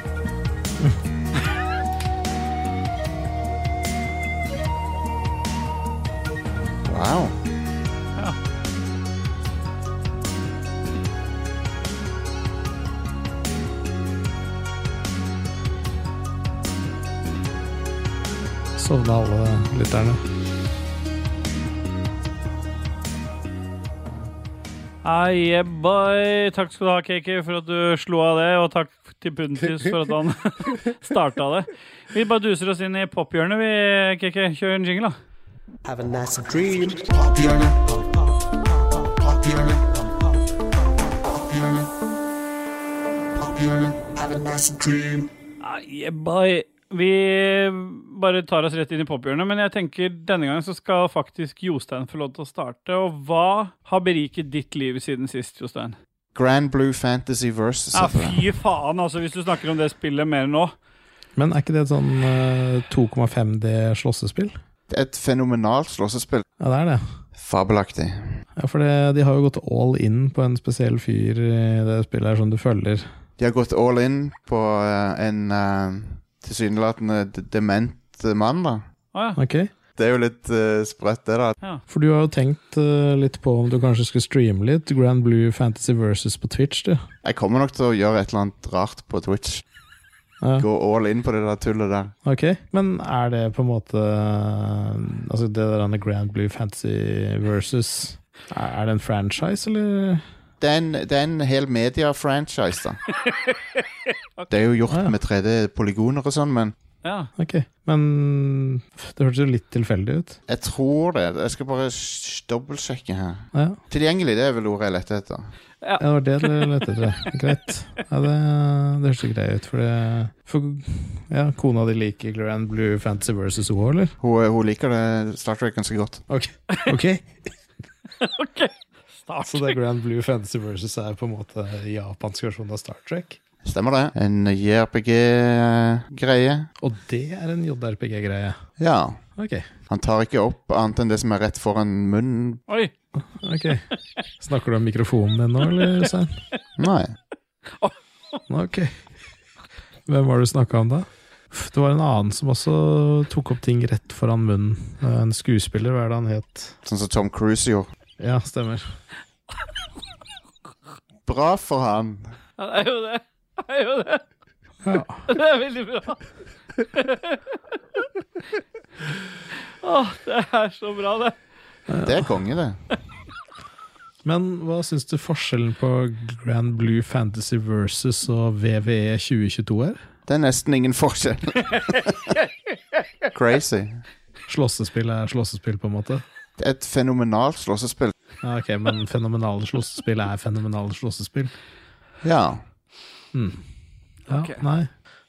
Speaker 2: Wow.
Speaker 5: Sovna alle lytterne.
Speaker 3: Ja, Ah, yeah, boy. Takk skal du ha, KK, for at du slo av det, og takk til Puntis for at han starta det. Vi bare duser oss inn i pophjørnet, vi, KK. Kjør en jingle, da.
Speaker 9: Have a nice dream. Pophjørnet. Pophjørnet. Pophjørnet. Pophjørnet. Have a nice dream.
Speaker 3: Ah, yeah, boy. Vi bare tar oss rett inn i pophjørnet, men jeg tenker denne gangen så skal faktisk Jostein få lov til å starte. Og hva har beriket ditt liv siden sist, Jostein?
Speaker 2: Grand Blue Fantasy Versus.
Speaker 3: Ja,
Speaker 5: Ah.
Speaker 2: heter det.
Speaker 3: fy faen, altså, hvis du snakker om det spillet mer nå.
Speaker 5: Men er ikke det et sånn eh, 2,5D slåssespill?
Speaker 2: Et fenomenalt slåssespill.
Speaker 5: Ja, det er det.
Speaker 2: Fabelaktig.
Speaker 5: Ja, for det, de har jo gått all in på en spesiell fyr i det spillet her som du følger.
Speaker 2: De har gått all in på eh, en eh, tilsynelatende d- dement eh, mann, da.
Speaker 3: Å ja.
Speaker 5: Ok?
Speaker 2: Det er jo litt eh, sprøtt, det, da.
Speaker 5: For du har jo tenkt eh, litt på om du kanskje skulle streame litt Grand Blue Fantasy Versus på Twitch, du.
Speaker 2: Jeg kommer nok til å gjøre et eller annet rart på Twitch.
Speaker 5: Ja.
Speaker 2: Gå all in på det der tullet der.
Speaker 5: Ok, men er det på en måte Altså det der andre Grand Blue Fantasy versus Er er det en franchise, eller?
Speaker 2: Det er en, det er en hel media-franchise, da. Det er jo gjort
Speaker 5: Ah, ja.
Speaker 2: med 3D-polygoner og sånn, men
Speaker 3: ja.
Speaker 5: Ok, men pff, det hørtes jo litt tilfeldig ut.
Speaker 2: jeg tror det. Jeg skal bare sj- dobbeltsjekke her.
Speaker 5: Ja,
Speaker 2: Tilgjengelig, det er vel ordet jeg lette etter.
Speaker 5: ja, det var det du lette etter. Greit. Ja, det, det hørtes jo greit ut, for det for, Ja, kona di liker Grand Blue Fantasy versus War, eller?
Speaker 2: Hun, eh, hun liker det Star Trek ganske godt.
Speaker 5: Ok,
Speaker 3: OK. Start.
Speaker 5: Så det Grand Blue Fantasy versus er på en måte japansk versjon av Star Trek?
Speaker 2: Stemmer det. En JRPG-greie.
Speaker 5: Og det er en JRPG-greie.
Speaker 2: Ja.
Speaker 5: Ok.
Speaker 2: Han tar ikke opp annet enn det som er rett foran munnen.
Speaker 3: Oi.
Speaker 5: Ok. Snakker du om mikrofonen din nå, eller, Svein?
Speaker 2: Nei.
Speaker 5: Ok. Hvem var det du snakka om da? Uff, Det var en annen som også tok opp ting rett foran munnen. Eh, En skuespiller, hva er det han het?
Speaker 2: Sånn som Tom Cruise gjorde.
Speaker 5: Ja, stemmer.
Speaker 2: Bra for han.
Speaker 3: Ja, det er jo det. Det er jo det.
Speaker 5: Ja.
Speaker 3: Det er veldig bra. Åh, det er så bra, det.
Speaker 2: Det er konge, det.
Speaker 5: Men hva syns du forskjellen på Grand Blue Fantasy versus og VVE 2022 er?
Speaker 2: Det er nesten ingen forskjell. Crazy.
Speaker 5: Slåssespill er slåssespill, på en måte.
Speaker 2: Et fenomenalt slåssespill.
Speaker 5: Ja, ok, Men fenomenale slåssespill er fenomenale slåssespill.
Speaker 2: Ja,
Speaker 5: Ja,
Speaker 3: Ok.
Speaker 5: Nei.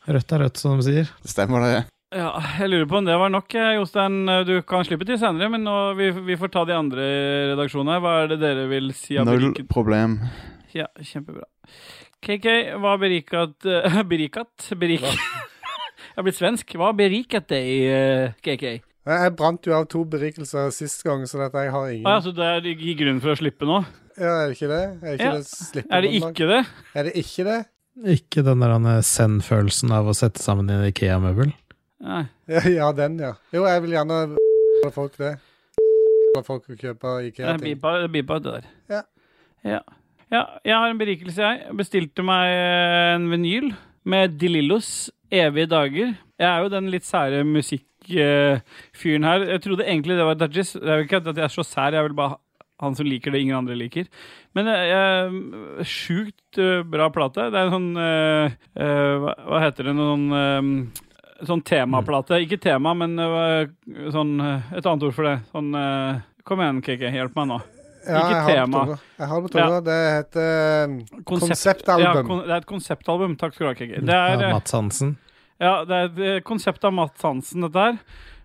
Speaker 5: Rødt er rødt, som de sier.
Speaker 2: det stemmer det.
Speaker 3: Ja, jeg lurer på om det var nok, eh, Jostein. Du kan slippe til senere, men nå, vi, vi får ta de andre redaksjonene. her. Hva er det dere vil si? har
Speaker 2: Null
Speaker 3: beriket-
Speaker 2: problem.
Speaker 3: Ja, kjempebra. KK, hva beriket eh, Beriket? Berik... Jeg er blitt svensk. Hva beriket deg, eh, KK?
Speaker 4: Jeg, jeg brant jo av to berikelser sist gang, så dette, jeg har ingen.
Speaker 3: Ah, ja, så det er i grunnen for å slippe nå?
Speaker 4: ja, er det ikke det? Er ikke
Speaker 3: Ja.
Speaker 4: det slippet
Speaker 3: Er det
Speaker 4: noen gang?
Speaker 3: ikke det?
Speaker 4: Er det ikke det?
Speaker 5: Ikke den der eh, send-følelsen av å sette sammen en Ikea-møbel.
Speaker 3: Nei.
Speaker 4: Ja, ja, den, ja. Jo, jeg vil gjerne la folk det. La folk å kjøpe
Speaker 3: Det er
Speaker 4: IKEA-ting.
Speaker 3: bipa, det er bipa det der.
Speaker 4: Ja.
Speaker 3: ja. Ja, jeg har en berikelse, jeg. Jeg Bestilte meg eh, en vinyl med De Lillos 'Evige dager'. Jeg er jo den litt sære musikkfyren her. Jeg trodde egentlig det var Dajis. Det er jo ikke at jeg er så sær, jeg er vel bare han som liker det ingen andre liker. Men eh, eh, sjukt eh, bra plate. Det er en sånn eh, eh, hva, hva heter det? Noen sånn eh, Sånn temaplate. Ikke tema, men eh, sånn eh, Et annet ord for det. Sånn eh, Kom igjen, KK. Hjelp meg nå. ikke
Speaker 4: Ja, jeg har det
Speaker 3: tema.
Speaker 4: på tunga. Jeg har det på tunga. Det heter um,
Speaker 3: Konsept-
Speaker 4: Konseptalbum.
Speaker 3: Ja, kon det er et konseptalbum. Takk skal du ha, Kiki. Det
Speaker 5: Ja,
Speaker 3: er, eh,
Speaker 5: Mats Hansen.
Speaker 3: ja, det er et eh, konsept av Mats Hansen, dette her.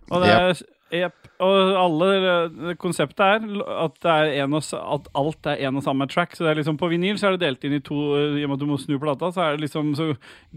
Speaker 3: Og det er Jep. Og alle eh, konseptet er l- at, det er en og, s- at alt er en og samme track. Så det er liksom På vinyl så er det delt inn i to eh, I og med at du må snu plata, så, er det liksom, så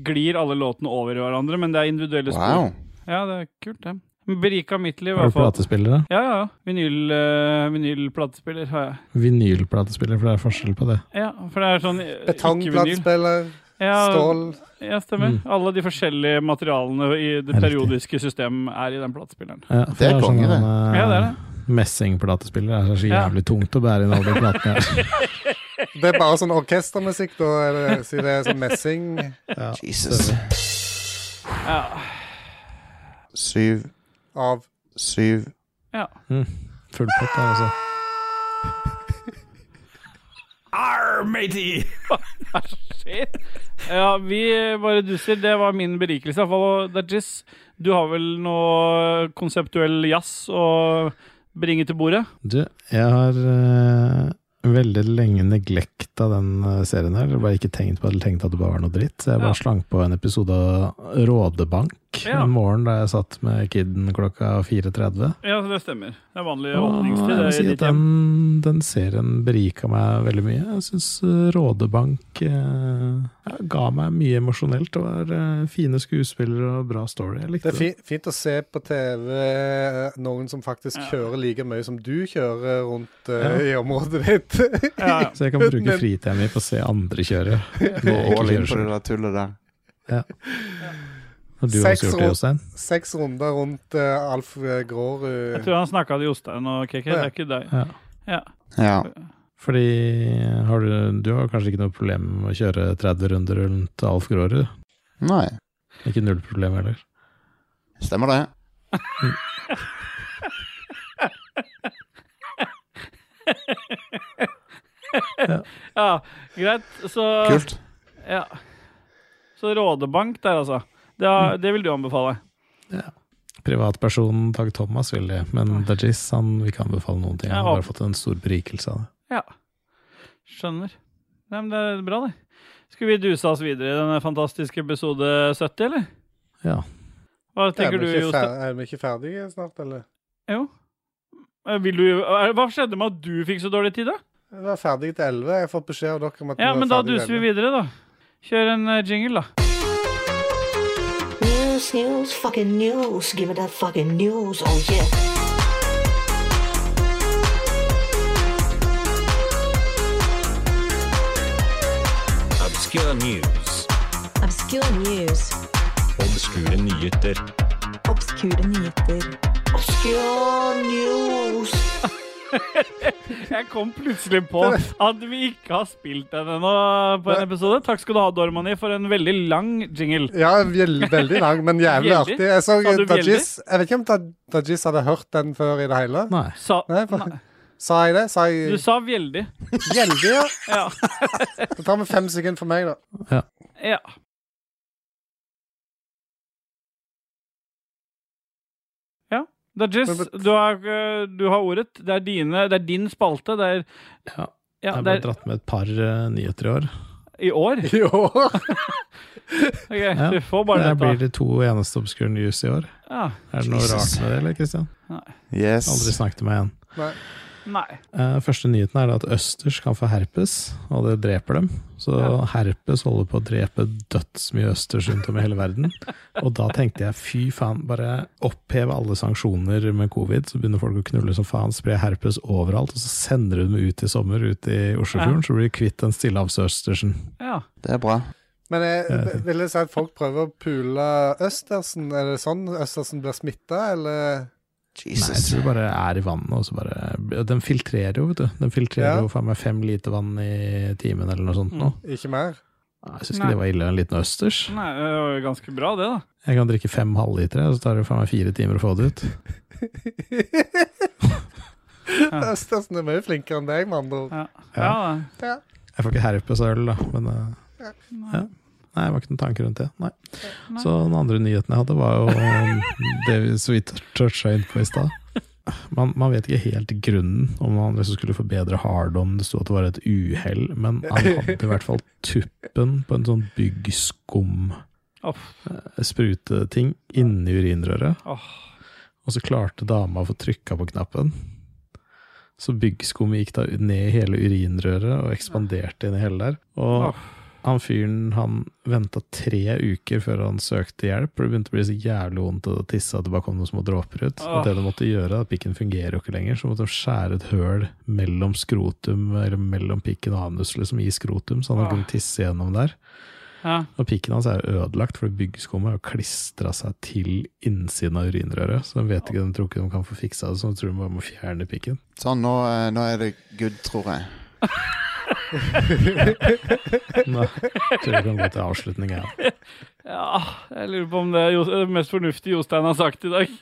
Speaker 3: glir alle låtene over i hverandre. Men det er individuelle spor.
Speaker 2: Wow.
Speaker 3: Ja, det er kult, det. Berika mitt liv, i
Speaker 5: Har
Speaker 3: hvert
Speaker 5: du
Speaker 3: fall.
Speaker 5: platespillere?
Speaker 3: Ja, ja. ja. Vinyl, eh, vinylplatespiller har jeg.
Speaker 5: Vinylplatespiller, for det er forskjell på det.
Speaker 3: Ja, for det er sånn eh, ikke-vinyl.
Speaker 4: Betongplatespiller,
Speaker 3: Ja,
Speaker 4: stål
Speaker 3: Ja, stemmer.
Speaker 5: Mm.
Speaker 3: Alle de forskjellige materialene i det
Speaker 5: Riktig.
Speaker 3: periodiske system er i den platespilleren.
Speaker 5: Ja,
Speaker 2: Det er konge,
Speaker 5: sånn,
Speaker 2: det.
Speaker 3: Ja, det er det.
Speaker 5: Messingplatespiller eh, er så
Speaker 3: Ja.
Speaker 5: jævlig tungt å bære inn alle de platene her.
Speaker 4: Det er bare sånn orkestermusikk, da. Eller, si det er sånn messing.
Speaker 5: Ja.
Speaker 2: Jesus.
Speaker 3: Ja.
Speaker 2: Syv,
Speaker 4: av
Speaker 2: syv
Speaker 5: Full pott der, altså. Sure, matey!
Speaker 3: Shit. Ja, vi bare duser. Det var min berikelse, iallfall. Og Dajis, du har vel noe konseptuell jazz å bringe til bordet?
Speaker 5: Du, jeg har eh, veldig lenge neglekta den eh, serien her. Bare ikke tenkt på det, eller tenkt at det bare var noe dritt. Så jeg bare
Speaker 3: Ja.
Speaker 5: slang på en episode av Rådebank
Speaker 3: Ja.
Speaker 5: en morgen da jeg satt med kiden klokka 4.30.
Speaker 3: Ja, det stemmer. Det er vanlig
Speaker 5: Og jeg
Speaker 3: Eh, åpningstid.
Speaker 5: vil si
Speaker 3: det i
Speaker 5: at
Speaker 3: ditt hjem.
Speaker 5: den, den serien berika meg veldig mye. Jeg syns Rådebank eh, ja, ga meg mye emosjonelt. Det var eh, fine skuespillere og bra story. Jeg
Speaker 4: Det
Speaker 5: likte
Speaker 4: er
Speaker 5: det.
Speaker 4: fi- fint å se på TV eh, noen som faktisk kjører like mye som du kjører rundt eh, i området ditt.
Speaker 3: Ja, ja.
Speaker 5: Så jeg kan bruke fritida mi på å se andre kjøre.
Speaker 2: Gå
Speaker 5: Når jeg ikke
Speaker 2: all in
Speaker 5: kjører
Speaker 2: på
Speaker 5: selv.
Speaker 2: det der tullet der.
Speaker 5: Har du har
Speaker 4: Seks
Speaker 5: også gjort det,
Speaker 4: år.
Speaker 5: Jostein?
Speaker 4: Seks runder rundt eh, Alf eh,
Speaker 3: Jeg
Speaker 4: Graaru.
Speaker 3: tror han snakka til Jostein og KK. Det er ikke deg.
Speaker 5: Ja.
Speaker 3: Ja.
Speaker 2: Ja.
Speaker 5: Fordi eh, har du, du har kanskje ikke noe problem med å kjøre 30 runder rundt Alf Grårud?
Speaker 2: Nei.
Speaker 5: Ikke null problem heller.
Speaker 2: Stemmer det.
Speaker 3: ja, greit. Så,
Speaker 2: Kult.
Speaker 3: ja. så rådebank der, altså. Det, er-
Speaker 5: Mm.
Speaker 3: det vil du anbefale?
Speaker 5: Privatpersonen Dag Thomas vil det, men Dajis han vil ikke anbefale noen ting. Han
Speaker 3: Ja.
Speaker 5: har bare fått en stor berikelse av det.
Speaker 3: Ja. Skjønner. Nei, men det er bra, det. Skal vi duse oss videre i denne fantastiske episode 70, eller?
Speaker 5: Ja.
Speaker 3: Hva
Speaker 4: Er
Speaker 3: tenker du,
Speaker 4: vi, ikke
Speaker 3: Jostein?
Speaker 4: fer- er vi ikke ferdige snart, eller?
Speaker 3: Jo. Eh, Vil du, er- hva skjedde med at du fikk så dårlig tid, da?
Speaker 4: Vi er ferdige til elleve. Jeg har fått beskjed av dere om at
Speaker 3: Ja,
Speaker 4: vi
Speaker 3: men
Speaker 4: er
Speaker 3: da
Speaker 4: ferdige
Speaker 3: duser
Speaker 4: til
Speaker 3: vi
Speaker 4: 11.
Speaker 3: videre, da. Kjør en eh, jingle, da.
Speaker 9: News, news, fucking news. Give me that fucking news. Oh yeah.
Speaker 7: Obscure news.
Speaker 8: Obscure news.
Speaker 7: Obskure nyheter.
Speaker 8: Obskure nyheter.
Speaker 9: Obscure news.
Speaker 3: Jeg kom plutselig på at vi ikke har spilt den ennå på en episode. Takk skal du ha, Dormani, for en veldig lang jingle.
Speaker 4: Ja, vel- veldig lang, men jævlig
Speaker 3: Veldig?
Speaker 4: artig. Jeg så
Speaker 3: Sa du
Speaker 4: Dajis Jeg vet ikke om Da- Dajis hadde hørt den før i det hele.
Speaker 5: Nei.
Speaker 3: Sa,
Speaker 4: Nei, for- Sa jeg det? Sa
Speaker 3: du
Speaker 4: jeg
Speaker 3: sa veldig.
Speaker 4: veldig, ja?
Speaker 3: Ja.
Speaker 4: Da tar vi fem sekunder for meg, da.
Speaker 3: ja. Ja. Dajis, du, har, eh, du har ordet. Det er, dine, det er din spalte. Det er,
Speaker 5: Ja.
Speaker 3: ja, det
Speaker 5: Jeg ble
Speaker 3: er
Speaker 5: dratt med et par eh, nyheter i år.
Speaker 3: i år.
Speaker 4: I år.
Speaker 3: Ok, Du får bare
Speaker 5: Det blir
Speaker 3: dette.
Speaker 5: de to eneste obskure news i år.
Speaker 3: Ja.
Speaker 5: Er det noe
Speaker 2: Jesus.
Speaker 5: rart med det, eller, Christian? Aldri
Speaker 2: Yes.
Speaker 5: snakket med igjen.
Speaker 4: Nei.
Speaker 3: Nei.
Speaker 5: Eh, første nyheten er da at østers kan få herpes, og det dreper dem. Så
Speaker 3: Ja.
Speaker 5: herpes holder på å drepe dødsmye østers rundt om i hele verden. Og da tenkte jeg fy faen, bare oppheve alle sanksjoner med covid, så begynner folk å knulle som faen, spre herpes overalt, og så sender du dem ut i sommer ut i Oslofjorden, så blir du kvitt den stillehavsøstersen.
Speaker 3: Ja.
Speaker 2: Det er bra.
Speaker 4: Men jeg v- ville si sånn at folk prøver å pule østersen. Er det sånn østersen blir smitta, eller?
Speaker 5: Nei, jeg
Speaker 2: Jesus.
Speaker 5: tror det bare er i vannet, og så bare Den filtrerer jo, vet du. Den filtrerer
Speaker 4: Ja.
Speaker 5: jo faen meg fem liter vann i timen eller noe sånt nå.
Speaker 4: Ikke mer?
Speaker 5: Nei, Jeg syns
Speaker 3: Nei.
Speaker 5: ikke det var ille, en liten østers.
Speaker 3: Nei, det var jo ganske bra, det, da.
Speaker 5: Jeg kan drikke fem halvlitere, og så tar det faen meg fire timer å få det ut.
Speaker 4: Østersen er mye flinkere enn deg, med andre ord.
Speaker 3: Ja. ja. da.
Speaker 5: Jeg får ikke herpesøl, da, men eh, ja. Nei, det var ikke noen tanke rundt det. Nei. Så den andre nyheten jeg hadde, var jo det vi så vidt toucha inn på i stad. Man, man vet ikke helt grunnen, om han liksom skulle forbedre hard-on. Det sto at det var et uhell, men han hadde i hvert fall tuppen på en sånn eh, byggskum-spruteting
Speaker 3: Uff.
Speaker 5: inni urinrøret.
Speaker 3: Åh.
Speaker 5: Og så klarte dama å få trykka på knappen. Så byggskummet gikk da ned i hele urinrøret og ekspanderte inn i hele der. Og han fyren han venta tre uker før han søkte hjelp, for det begynte å bli så jævlig vondt å tisse at det bare kom noen små dråper ut. Og det de måtte gjøre, at pikken fungerer jo ikke lenger, så måtte de skjære et høl mellom skrotum, eller mellom pikken og anus, liksom i skrotum, så han
Speaker 3: Åh.
Speaker 5: kunne tisse gjennom der.
Speaker 3: Ja.
Speaker 5: Og pikken hans er jo ødelagt, for byggeskummet har jo klistra seg til innsiden av urinrøret. Så de vet ikke, de tror ikke de kan få fiksa det, så de tror de bare må fjerne pikken.
Speaker 2: Sånn, nå, eh, nå er det good, tror jeg.
Speaker 5: Nei, jeg tror vi kan gå til avslutning, ja.
Speaker 3: ja. Jeg lurer på om det er jo- det mest fornuftige Jostein har sagt i dag.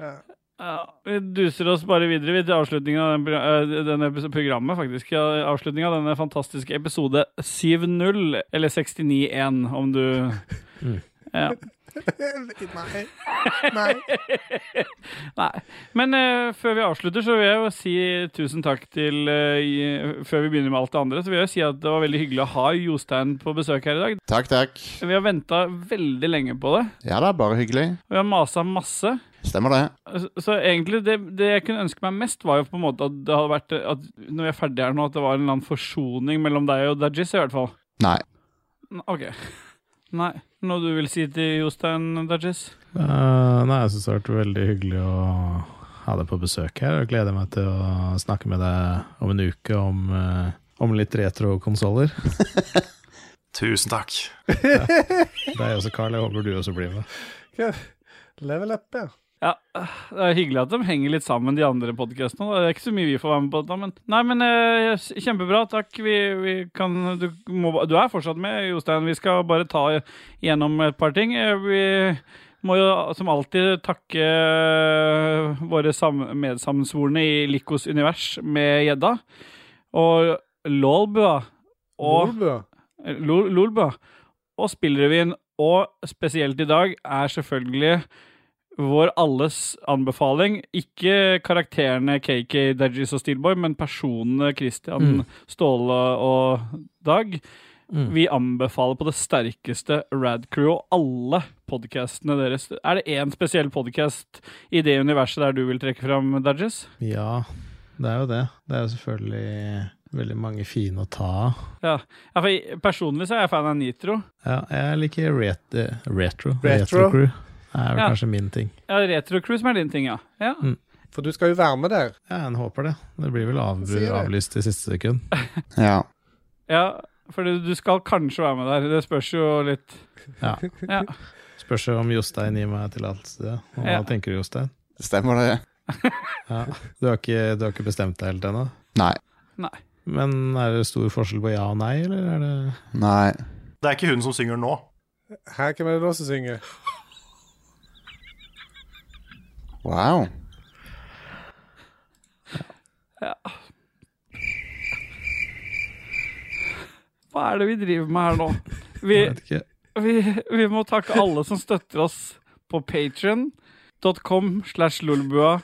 Speaker 4: Ja.
Speaker 3: Ja, vi duser oss bare videre til avslutningen av den pro- eh, denne epis- programmet, faktisk. Ja, Avslutningen av denne fantastiske episode 7.0, eller 69.1, om du Ja.
Speaker 4: Nei. Nei.
Speaker 3: Nei. Men eh, før vi avslutter, så vil jeg jo si tusen takk til eh, i- Før vi begynner med alt det andre, så vil jeg jo si at det var veldig hyggelig å ha Jostein på besøk her i dag.
Speaker 2: Takk, takk.
Speaker 3: Vi har venta veldig lenge på det,
Speaker 2: Ja da, bare hyggelig.
Speaker 3: og vi har masa masse.
Speaker 2: Stemmer det.
Speaker 3: Så, så egentlig, det, det jeg kunne ønske meg mest, var jo på en måte at det hadde vært at Når vi er ferdige her nå, at det var en eller annen forsoning mellom deg og Dajis, i hvert fall.
Speaker 2: Nei.
Speaker 3: N- OK. Nei. Noe du vil si til Jostein, Dajis?
Speaker 5: Eh, nei, jeg syns det har vært veldig hyggelig å ha deg på besøk her. Og gleder meg til å snakke med deg om en uke om, eh, om litt retrokonsoller.
Speaker 1: Tusen takk.
Speaker 5: Deg også, Carl. Jeg håper du også blir med.
Speaker 4: Level up, ja.
Speaker 3: Ja, det er hyggelig at de henger litt sammen, de andre podkastene. Det er ikke så mye vi får være med på dette, men Nei, men eh, s- kjempebra. Takk. Vi, vi kan du, må, du er fortsatt med, Jostein. Vi skal bare ta gjennom et par ting. Eh, Vi må jo som alltid takke eh, våre sam medsammensvorne i Likos univers med gjedda. Og Lolbua. Og
Speaker 4: Nordbø.
Speaker 3: Eh, Lol- Lolbø. Og Spillrevyen, og spesielt i dag, er selvfølgelig vår alles anbefaling. Ikke karakterene KK, Dajis og Steelboy, men personene Christian, Ståle og Dag. Vi anbefaler på det sterkeste Radcrew og alle podkastene deres. Er det én spesiell podkast i det universet der du vil trekke fram, Dajis?
Speaker 5: Ja, det er jo det. Det er jo selvfølgelig veldig mange fine å ta av.
Speaker 3: Ja. ja, for jeg- personlig så er jeg fan av Nitro.
Speaker 5: Ja, jeg liker ret eh, retro.
Speaker 4: Retro.
Speaker 5: Crew. Det er vel
Speaker 3: Ja.
Speaker 5: kanskje min ting.
Speaker 3: Ja, Retro Crew som er din ting, ja. ja.
Speaker 4: For du skal jo være med der.
Speaker 5: Ja, en håper det. Det blir vel av
Speaker 4: Sier det.
Speaker 5: avlyst i siste sekund.
Speaker 2: Ja.
Speaker 3: Ja, for du skal kanskje være med der. Det spørs jo litt.
Speaker 5: Ja.
Speaker 3: Ja.
Speaker 5: Spørs om Jostein gir meg tillatelse. Og Hva
Speaker 3: Ja.
Speaker 5: tenker du, Jostein?
Speaker 2: Stemmer det.
Speaker 5: Ja. Du, har ikke, du har ikke bestemt deg helt ennå?
Speaker 2: Nei.
Speaker 3: Nei.
Speaker 5: Men er det stor forskjell på ja og nei, eller er det
Speaker 2: Nei.
Speaker 1: Det er ikke hun som synger nå.
Speaker 4: Her hvem er det da som synger?
Speaker 2: Wow.
Speaker 3: Hva er det vi driver med her nå? Vi,
Speaker 5: Jeg vet ikke.
Speaker 3: vi, vi må takke alle som støtter oss på patreon.com slash lolbua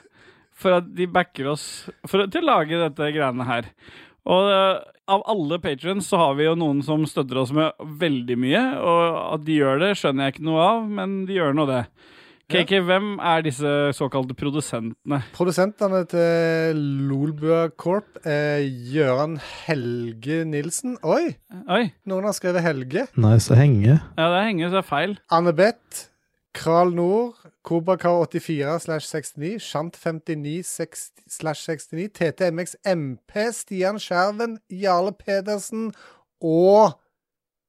Speaker 3: for at de backer oss for, å- til å lage dette greiene her. Og eh, av alle patrons så har vi jo noen som støtter oss med veldig mye, og at de gjør det skjønner jeg ikke noe av, men de gjør nå det. KK, hvem er disse såkalte produsentene?
Speaker 4: Produsentene til Lolbua Corp er Gøran Helge Nilsen. Oi,
Speaker 3: Oi,
Speaker 4: noen har skrevet Helge.
Speaker 5: Nice å henge.
Speaker 3: ja, det henger seg feil.
Speaker 4: Anne-Beth. Kral Nord. Kobrakar 84 slash 69. Shant 59 seks- slash 69. TTMX MP. Stian Skjerven. Jarle Pedersen. Og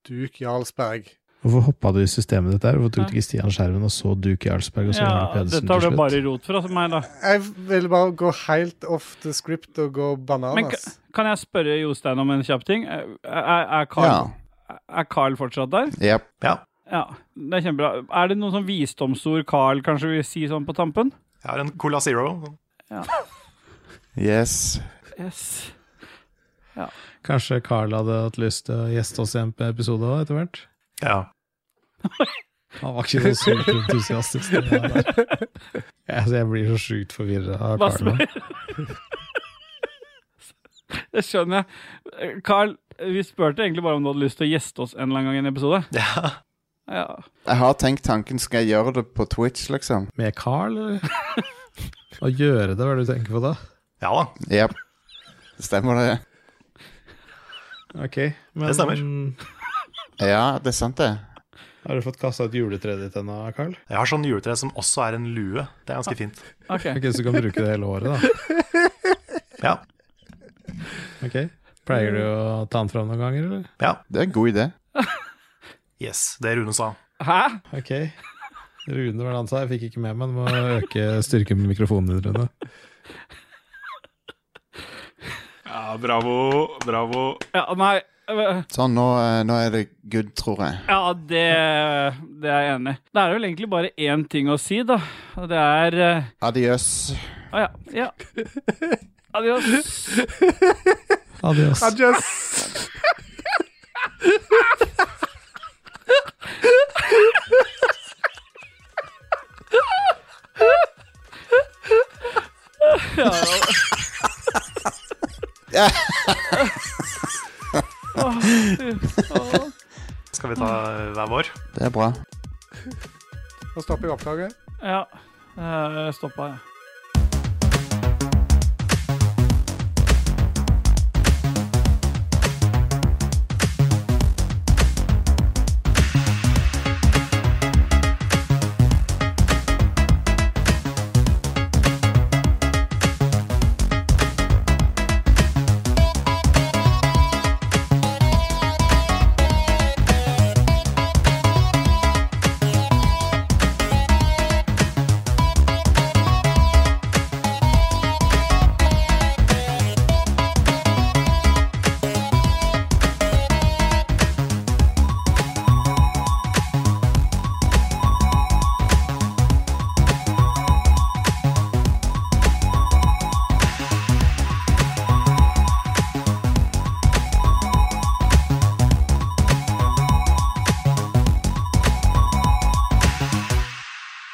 Speaker 4: Duke Jarlsberg.
Speaker 5: Hvorfor hoppa du i systemet ditt der? Hvorfor tok du ikke Stian Skjerven og så Duke Jarlsberg og så Arne
Speaker 3: Ja,
Speaker 5: Pedersen
Speaker 3: dette har du
Speaker 5: til slutt?
Speaker 3: bare rot fra meg, da.
Speaker 4: Jeg vil bare gå helt off the script og gå
Speaker 3: Men
Speaker 4: bananas.
Speaker 3: ka- kan jeg spørre Jostein om en kjapp ting? Er, er, er, Carl,
Speaker 2: Ja.
Speaker 3: er Carl fortsatt der?
Speaker 2: Jep.
Speaker 1: Ja.
Speaker 3: Ja, det er kjempebra. Er det noen sånn visdomsord Carl kanskje vil si sånn på tampen?
Speaker 1: Jeg har en Cola Zero.
Speaker 2: Yes.
Speaker 3: Yes.
Speaker 5: Kanskje Carl hadde hatt lyst til å gjeste oss i en episode òg, etter hvert?
Speaker 1: Ja.
Speaker 5: Han var ikke så superentusiastisk. det der. Jeg- Altså, jeg blir så sjukt forvirra av
Speaker 3: Hva
Speaker 5: Carl nå.
Speaker 3: spør Det skjønner jeg. Carl, vi spurte egentlig bare om du hadde lyst til å gjeste oss en eller annen gang i en episode.
Speaker 1: ja.
Speaker 3: Ja.
Speaker 2: Jeg har tenkt tanken, skal jeg gjøre det på Twitch, liksom?
Speaker 5: Med Carl, eller? Å gjøre det, hva er det du tenker på da?
Speaker 1: Ja da.
Speaker 2: Jep. Stemmer det.
Speaker 5: Ok, men
Speaker 1: Det stemmer.
Speaker 2: Ja, det er sant, det.
Speaker 5: Har du fått kasta ut juletreet ditt ennå, Carl?
Speaker 1: Jeg har sånn juletre som også er en lue. Det er ganske fint.
Speaker 3: Ok.
Speaker 5: Ok, Så du kan bruke det hele året, da.
Speaker 1: Ja.
Speaker 5: Ok, Pleier du å ta den fram noen ganger, eller?
Speaker 1: ja.
Speaker 2: Det er en god idé.
Speaker 1: Yes, det Rune sa.
Speaker 3: Hæ?
Speaker 5: Ok. Rune, hva var det han sa? Jeg fikk ikke med meg. Du må øke styrken med mikrofonen din, Rune.
Speaker 6: Ja, bravo, bravo.
Speaker 3: Ja, nei. øh,
Speaker 2: Sånn, nå, eh, nå er det good, tror jeg.
Speaker 3: Ja, det, det er jeg enig i. Det er vel egentlig bare én ting å si, da. Og det er eh,
Speaker 2: Adiøs.
Speaker 3: Å ja. ja. Adios.
Speaker 5: Adios.
Speaker 4: Adios.
Speaker 1: Skal vi ta hver vår?
Speaker 2: Det er bra.
Speaker 4: Nå stopper jeg opptaket.
Speaker 3: Ja. Uh, Stoppa, jeg.